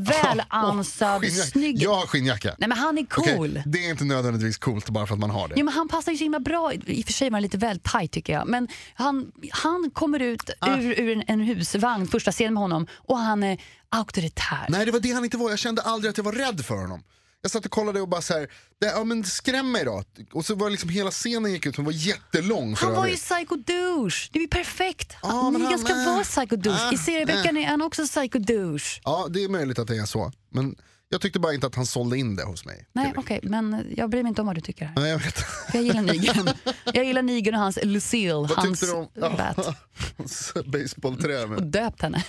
[SPEAKER 2] välansad,
[SPEAKER 1] Skinnjacka.
[SPEAKER 2] snygg.
[SPEAKER 1] Jag har skinnjacka.
[SPEAKER 2] Nej men han är
[SPEAKER 1] Okej,
[SPEAKER 2] cool.
[SPEAKER 1] Det är inte nödvändigtvis coolt bara för att man har det.
[SPEAKER 2] Ja, men han passar ju så himla bra. I och för sig var han lite väl tajt tycker jag. Men han, han kommer ut
[SPEAKER 1] Ah.
[SPEAKER 2] ur, ur en, en husvagn, första scenen med honom, och han är auktoritär.
[SPEAKER 1] Nej det var det han inte var, jag kände aldrig att jag var rädd för honom. Jag satt och kollade och bara så här, det, ja men skräm mig då. Och så var det liksom hela scenen gick ut som var jättelång för
[SPEAKER 2] Han var ju
[SPEAKER 1] övrigt.
[SPEAKER 2] psycho douche. Det är ju perfekt.
[SPEAKER 1] Ja, men
[SPEAKER 2] Negan
[SPEAKER 1] han-
[SPEAKER 2] ska
[SPEAKER 1] äh,
[SPEAKER 2] vara psycho douche.
[SPEAKER 1] äh,
[SPEAKER 2] I serieböckerna är han också psycho douche.
[SPEAKER 1] Ja det är möjligt att det är så. Men jag tyckte bara inte att han sålde in det hos mig.
[SPEAKER 2] Nej,
[SPEAKER 1] tillräckligt.
[SPEAKER 2] okej, men jag bryr mig inte om vad du tycker här.
[SPEAKER 1] Nej jag vet.
[SPEAKER 2] Jag gillar
[SPEAKER 1] [LAUGHS]
[SPEAKER 2] Negan. Jag gillar Negan och hans Lucille,
[SPEAKER 1] Vad
[SPEAKER 2] hans
[SPEAKER 1] tyckte du om Ah.
[SPEAKER 2] bat.
[SPEAKER 1] [LAUGHS] hans basebollträ?
[SPEAKER 2] Och
[SPEAKER 1] med-
[SPEAKER 2] döpt henne.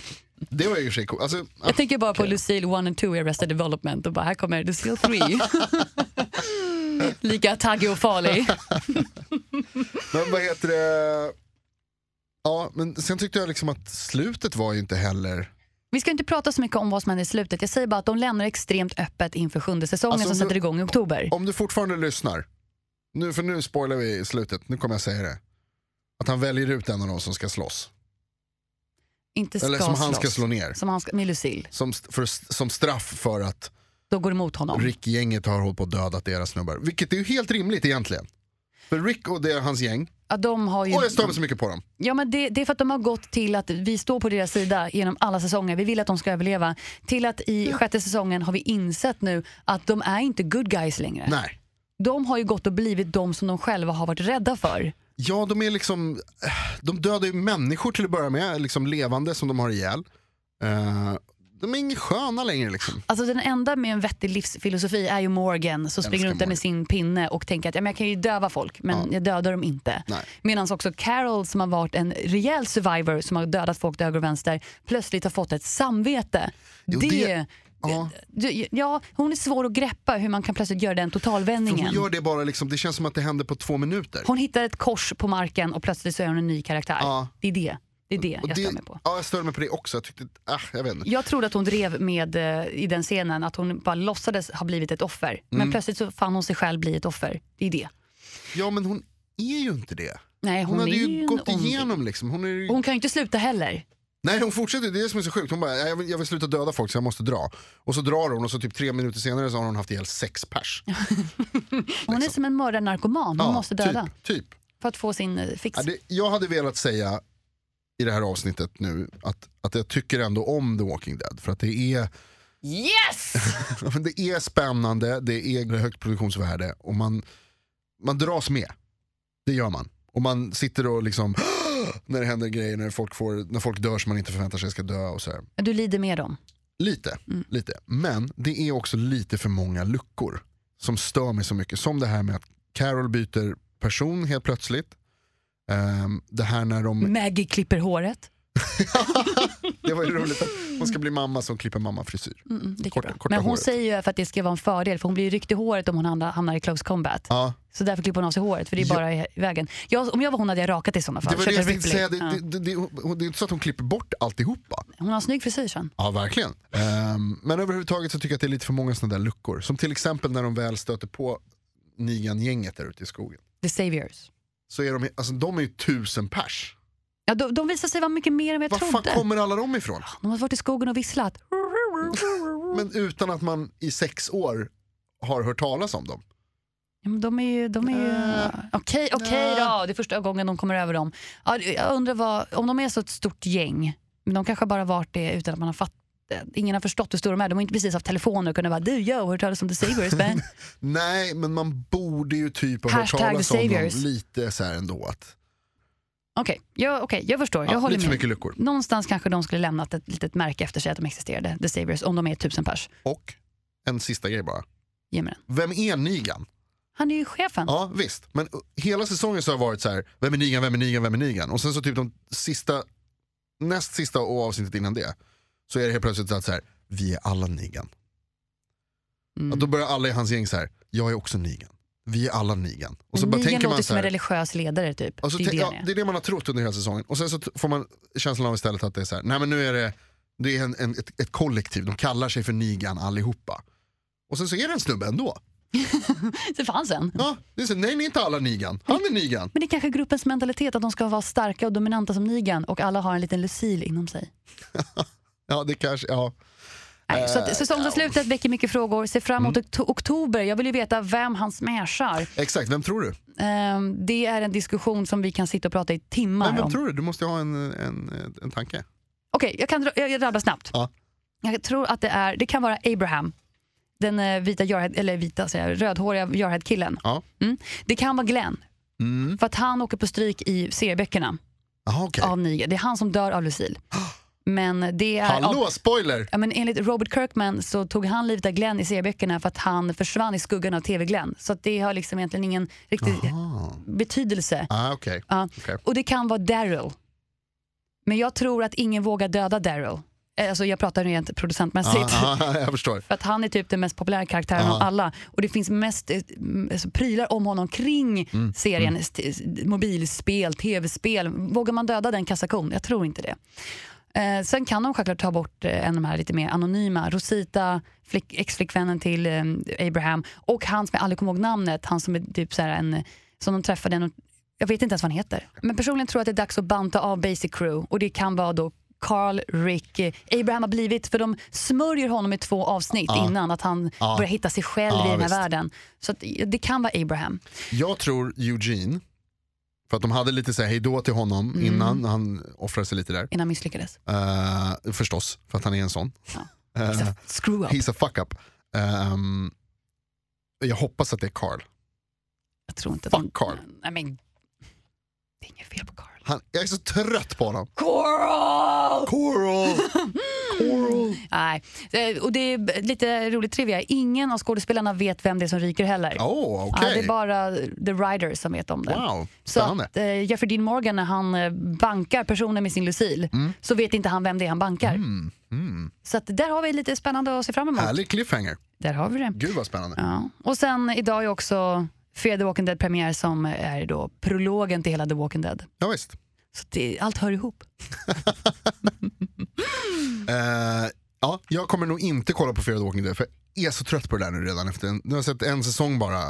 [SPEAKER 1] Det var ju i och för sig coolt. Alltså,
[SPEAKER 2] Jag tänker bara på Lucille 1 and 2 i Arrested Development och bara här kommer Lucille 3. [LAUGHS] Lika taggig och farlig.
[SPEAKER 1] Men vad heter det? Ja, men sen tyckte jag liksom att slutet var ju inte heller...
[SPEAKER 2] Vi ska inte prata så mycket om vad som händer i slutet. Jag säger bara att de lämnar extremt öppet inför sjunde säsongen
[SPEAKER 1] Alltså,
[SPEAKER 2] som
[SPEAKER 1] nu-
[SPEAKER 2] sätter igång i oktober.
[SPEAKER 1] Om du fortfarande lyssnar, nu, för nu spoilar vi slutet, nu kommer jag säga det. Att han väljer ut en av dem som ska slåss.
[SPEAKER 2] inte ska
[SPEAKER 1] Eller som han ska
[SPEAKER 2] slåss.
[SPEAKER 1] slå ner.
[SPEAKER 2] Som han ska, med Lucille.
[SPEAKER 1] Som, st- för, som straff för att
[SPEAKER 2] Då går det emot honom.
[SPEAKER 1] Rick-gänget har hållit på och dödat deras snubbar. Vilket är ju helt rimligt egentligen. För Rick och det, hans gäng,
[SPEAKER 2] Ja, de har ju,
[SPEAKER 1] och jag stör mig så mycket på dem.
[SPEAKER 2] ja, men det, det är för att de har gått till att vi står på deras sida genom alla säsonger. Vi vill att de ska överleva. Till att i sjätte säsongen har vi insett nu att de är inte good guys längre.
[SPEAKER 1] Nej.
[SPEAKER 2] De har ju gått och blivit de som de själva har varit rädda för.
[SPEAKER 1] Ja, de är liksom, de dödar ju människor till att börja med, liksom levande som de har ihjäl. Eh, de är inga sköna längre liksom.
[SPEAKER 2] Alltså den enda med en vettig livsfilosofi är ju Morgan som springer runt där
[SPEAKER 1] Morgan.
[SPEAKER 2] med sin pinne och tänker att ja, men jag kan ju döva folk men jag dödar dem inte.
[SPEAKER 1] Nej.
[SPEAKER 2] Medan också Carol som har varit en rejäl survivor som har dödat folk till höger och vänster plötsligt har fått ett samvete.
[SPEAKER 1] Jo,
[SPEAKER 2] det,
[SPEAKER 1] det- ja.
[SPEAKER 2] Du- ja, hon är svår att greppa hur man kan plötsligt göra den
[SPEAKER 1] För
[SPEAKER 2] totalvändningen.
[SPEAKER 1] hon gör det bara liksom, det känns som att det händer på två minuter.
[SPEAKER 2] Hon hittar ett kors på marken och plötsligt så är hon en ny karaktär.
[SPEAKER 1] Ja.
[SPEAKER 2] Det är det, det, är det
[SPEAKER 1] Och
[SPEAKER 2] jag
[SPEAKER 1] det-
[SPEAKER 2] stör mig på.
[SPEAKER 1] Ja, jag stör mig på det också. Jag tyckte, ah, jag vet inte.
[SPEAKER 2] Jag trodde att hon drev med eh, i den scenen att hon bara låtsades ha blivit ett offer. Men
[SPEAKER 1] Mm.
[SPEAKER 2] plötsligt så fann hon sig själv bli ett offer. Det är det.
[SPEAKER 1] Ja, men hon är ju inte det.
[SPEAKER 2] Nej, hon,
[SPEAKER 1] Hon, hade
[SPEAKER 2] är
[SPEAKER 1] ju
[SPEAKER 2] en
[SPEAKER 1] gått
[SPEAKER 2] ond-
[SPEAKER 1] igenom liksom. Hon är ju...
[SPEAKER 2] Hon kan ju inte sluta heller.
[SPEAKER 1] Nej, hon fortsätter. Det är det som är så sjukt. Hon bara, jag vill, jag vill sluta döda folk så jag måste dra. Och så drar hon och så typ tre minuter senare så har hon haft ihjäl sex pers.
[SPEAKER 2] Hon är som en mördarnarkoman. Hon
[SPEAKER 1] Liksom. Ja,
[SPEAKER 2] måste döda
[SPEAKER 1] Typ, typ.
[SPEAKER 2] för att få sin eh, fix.
[SPEAKER 1] Ja, det, jag hade velat säga i det här avsnittet nu att, att jag tycker ändå om The Walking Dead. För att det är, [LAUGHS]
[SPEAKER 2] Yes!
[SPEAKER 1] det är spännande, det är högt produktionsvärde och man, man dras med. Det gör man. Och man sitter och liksom [GASPS] när det händer grejer, när folk, får, när folk dör som man inte förväntar sig ska dö och så här.
[SPEAKER 2] Du lider med dem.
[SPEAKER 1] Lite, lite. Men det är också lite för många luckor som stör mig så mycket. Som det här med att Carol byter person helt plötsligt. Ehm, det här när de
[SPEAKER 2] Maggie klipper håret.
[SPEAKER 1] Det var ju roligt att hon ska bli mamma som klipper mamma-frisyr.
[SPEAKER 2] Mm, det gick
[SPEAKER 1] Korta-
[SPEAKER 2] bra.
[SPEAKER 1] korta
[SPEAKER 2] Men hon
[SPEAKER 1] håret.
[SPEAKER 2] säger ju för att det ska vara en fördel för hon blir ju ryckt i håret om hon hamnar- hamnar i close combat.
[SPEAKER 1] Ja,
[SPEAKER 2] Så därför klipper hon av sig håret för det är
[SPEAKER 1] Ja.
[SPEAKER 2] bara i vägen. Jag, om jag var hon hade jag rakat i sådana fall.
[SPEAKER 1] det var
[SPEAKER 2] Kört
[SPEAKER 1] det jag
[SPEAKER 2] en
[SPEAKER 1] tänkte
[SPEAKER 2] Ripley.
[SPEAKER 1] säga. Det,
[SPEAKER 2] Ja.
[SPEAKER 1] det, det, det, hon- det är inte så att hon klipper bort alltihopa.
[SPEAKER 2] Hon har en snygg frisyr sen.
[SPEAKER 1] Ja, verkligen. Ehm, men överhuvudtaget så tycker jag att det är lite för många sådana där luckor. Som till exempel när de väl stöter på Nigan-gänget där ute i skogen.
[SPEAKER 2] The Saviors.
[SPEAKER 1] Så är de, alltså, de är ju tusen pers.
[SPEAKER 2] Ja, de, de visar sig vara mycket mer än vad jag
[SPEAKER 1] Var fan
[SPEAKER 2] trodde.
[SPEAKER 1] kommer alla de ifrån?
[SPEAKER 2] De har varit i skogen och visslat.
[SPEAKER 1] Men utan att man i sex år har hört talas om dem.
[SPEAKER 2] Ja, men de är ju... De är ju...
[SPEAKER 1] Nä.
[SPEAKER 2] Okej, okej
[SPEAKER 1] Nä.
[SPEAKER 2] då. Det är första gången de kommer över dem. Ja, jag undrar vad, om de är så ett stort gäng, men de kanske bara varit det utan att man har fattat. Ingen har förstått hur stora de är. De har inte precis haft telefoner och kunnat vara du, yo, hur talas om The
[SPEAKER 1] [LAUGHS]
[SPEAKER 2] Saviors? Men
[SPEAKER 1] Nej, men man borde ju typ ha hört
[SPEAKER 2] Hashtag
[SPEAKER 1] talas om dem
[SPEAKER 2] saviors.
[SPEAKER 1] lite så här ändå. Att,
[SPEAKER 2] okej, jag, okej, jag förstår. Jag
[SPEAKER 1] ja,
[SPEAKER 2] håller
[SPEAKER 1] lite för
[SPEAKER 2] med.
[SPEAKER 1] mycket luckor.
[SPEAKER 2] Någonstans kanske de skulle lämnat ett litet märke efter sig att de existerade, The Saviors, om de är tusen pers.
[SPEAKER 1] Och en sista grej bara.
[SPEAKER 2] Ge mig den.
[SPEAKER 1] Vem är Nigan?
[SPEAKER 2] Han är ju chefen.
[SPEAKER 1] Ja visst, men uh, hela säsongen så har det varit så här, vem är Nigan, vem är Nigan, vem är Nigan? Och sen så typ de sista, näst sista och avsnittet innan det, så är det helt plötsligt så att så här, vi är alla Nigan.
[SPEAKER 2] Mm.
[SPEAKER 1] Att då börjar alla i hans gäng så här, jag är också Nigan. Vi är alla Nigan. Och så
[SPEAKER 2] Men
[SPEAKER 1] bara
[SPEAKER 2] Negan
[SPEAKER 1] tänker man
[SPEAKER 2] låter
[SPEAKER 1] så
[SPEAKER 2] som en
[SPEAKER 1] här,
[SPEAKER 2] religiös ledare typ.
[SPEAKER 1] alltså,
[SPEAKER 2] det är
[SPEAKER 1] tänk- ja,
[SPEAKER 2] det han är.
[SPEAKER 1] det är det man har trott under hela säsongen. Och sen så t- får man känslan av istället att det är så här, nej men nu är det, det är en, en, ett, ett kollektiv, de kallar sig för Nigan allihopa. Och sen så är det en snubbe ändå.
[SPEAKER 2] Det fanns en.
[SPEAKER 1] Ja, det är så, nej ni är inte alla Nigan, han är Nigan.
[SPEAKER 2] Men det är kanske gruppens mentalitet att de ska vara starka och dominanta som Negan och alla har en liten Lucille inom sig.
[SPEAKER 1] Ja, det kanske, ja.
[SPEAKER 2] Nej, så
[SPEAKER 1] Äh,
[SPEAKER 2] att säsongsavslutet väcker mycket frågor. Se fram
[SPEAKER 1] Mm.
[SPEAKER 2] emot okt- oktober. Jag vill ju veta vem han smashar.
[SPEAKER 1] Exakt, vem tror du?
[SPEAKER 2] Ehm, det är en diskussion som vi kan sitta och prata i timmar
[SPEAKER 1] Nej, vem
[SPEAKER 2] om.
[SPEAKER 1] tror du? Du måste ju ha en, en, en tanke.
[SPEAKER 2] Okej, jag kan dra- jag, jag rabblar snabbt.
[SPEAKER 1] Ja.
[SPEAKER 2] Jag tror att det är, det kan vara Abraham. Den eh, vita, Jarhead, eller vita säger jag, rödhåriga Jarhead-killen.
[SPEAKER 1] Ja.
[SPEAKER 2] Mm. Det kan vara Glenn,
[SPEAKER 1] Mm.
[SPEAKER 2] för att han åker på stryk i serieböckerna
[SPEAKER 1] Aha, okej.
[SPEAKER 2] av Negan. Det är han som dör
[SPEAKER 1] [GASPS]
[SPEAKER 2] av Lucille. Men det är... av-
[SPEAKER 1] Hallå, spoiler!
[SPEAKER 2] Ja, men enligt Robert Kirkman så tog han livet av Glenn i serieböckerna för att han försvann i skuggan av TV-Glenn. Så att det har liksom egentligen ingen riktig
[SPEAKER 1] Ah,
[SPEAKER 2] betydelse.
[SPEAKER 1] ah, okej.
[SPEAKER 2] Ja.
[SPEAKER 1] Okej.
[SPEAKER 2] Och det kan vara Daryl. Men jag tror att ingen vågar döda Daryl. Eh, Alltså jag pratar rent producentmässigt.
[SPEAKER 1] Ah, ah, jag förstår.
[SPEAKER 2] För att han är typ den mest populära karaktären
[SPEAKER 1] Ja.
[SPEAKER 2] av alla. Och det finns mest eh, m- alltså, prylar om honom kring serien. st- s- Mobilspel, tv-spel. Vågar man döda den kassakon? Jag tror inte det. Eh, sen kan de självklart ta bort eh, en av de här lite mer anonyma. Rosita, flick, ex-flickvännen till eh, Abraham. Och han som jag aldrig kommer ihåg namnet. Han som är typ så här en, som de träffade. En, jag vet inte ens vad han heter. Men personligen tror jag att det är dags att banta av Basic Crew. Och det kan vara då Carl, Rick, eh, Abraham har blivit, för de smörjer honom i två avsnitt innan att han
[SPEAKER 1] Ja.
[SPEAKER 2] börjar hitta sig själv
[SPEAKER 1] Ja,
[SPEAKER 2] i den här
[SPEAKER 1] visst.
[SPEAKER 2] världen. Så att, eh, det kan vara Abraham.
[SPEAKER 1] Jag tror Eugene, för att de hade lite så här hejdå till honom
[SPEAKER 2] Mm.
[SPEAKER 1] innan, han offrade sig lite där.
[SPEAKER 2] Innan han misslyckades.
[SPEAKER 1] Eh, förstås, för att han är en sån. Eh,
[SPEAKER 2] Så, screw up.
[SPEAKER 1] he's a fuck up. Ehm, jag hoppas att det är Carl.
[SPEAKER 2] Jag tror inte
[SPEAKER 1] Fuck Carl.
[SPEAKER 2] Nej, men, det är inget fel på Carl.
[SPEAKER 1] Han, jag är så trött på honom.
[SPEAKER 2] Carl! [LAUGHS]
[SPEAKER 1] Coral! Coral!
[SPEAKER 2] Nej. Eh, Och det är b- lite roligt trivia. Ingen av skådespelarna vet vem det är som ryker heller.
[SPEAKER 1] Åh,
[SPEAKER 2] Ja, det
[SPEAKER 1] okej.
[SPEAKER 2] är bara The Riders som vet om det.
[SPEAKER 1] Wow,
[SPEAKER 2] Så
[SPEAKER 1] spännande.
[SPEAKER 2] att eh, Jeffrey Dean Morgan när han eh, bankar personen med sin Lucille
[SPEAKER 1] Mm.
[SPEAKER 2] så vet inte han vem det är han bankar. Så att där har vi lite spännande att se fram emot.
[SPEAKER 1] Härlig cliffhanger.
[SPEAKER 2] Där har vi det.
[SPEAKER 1] Gud vad spännande.
[SPEAKER 2] Ja. Och sen idag är också Fear the Walking Dead premiär som är då prologen till hela The Walking Dead.
[SPEAKER 1] Ja, visst.
[SPEAKER 2] Så det, allt hör ihop.
[SPEAKER 1] Eh, ja, jag kommer nog inte kolla på Fear the Walking Dead för jag är så trött på det där nu redan. Efter en, nu har jag sett en säsong bara,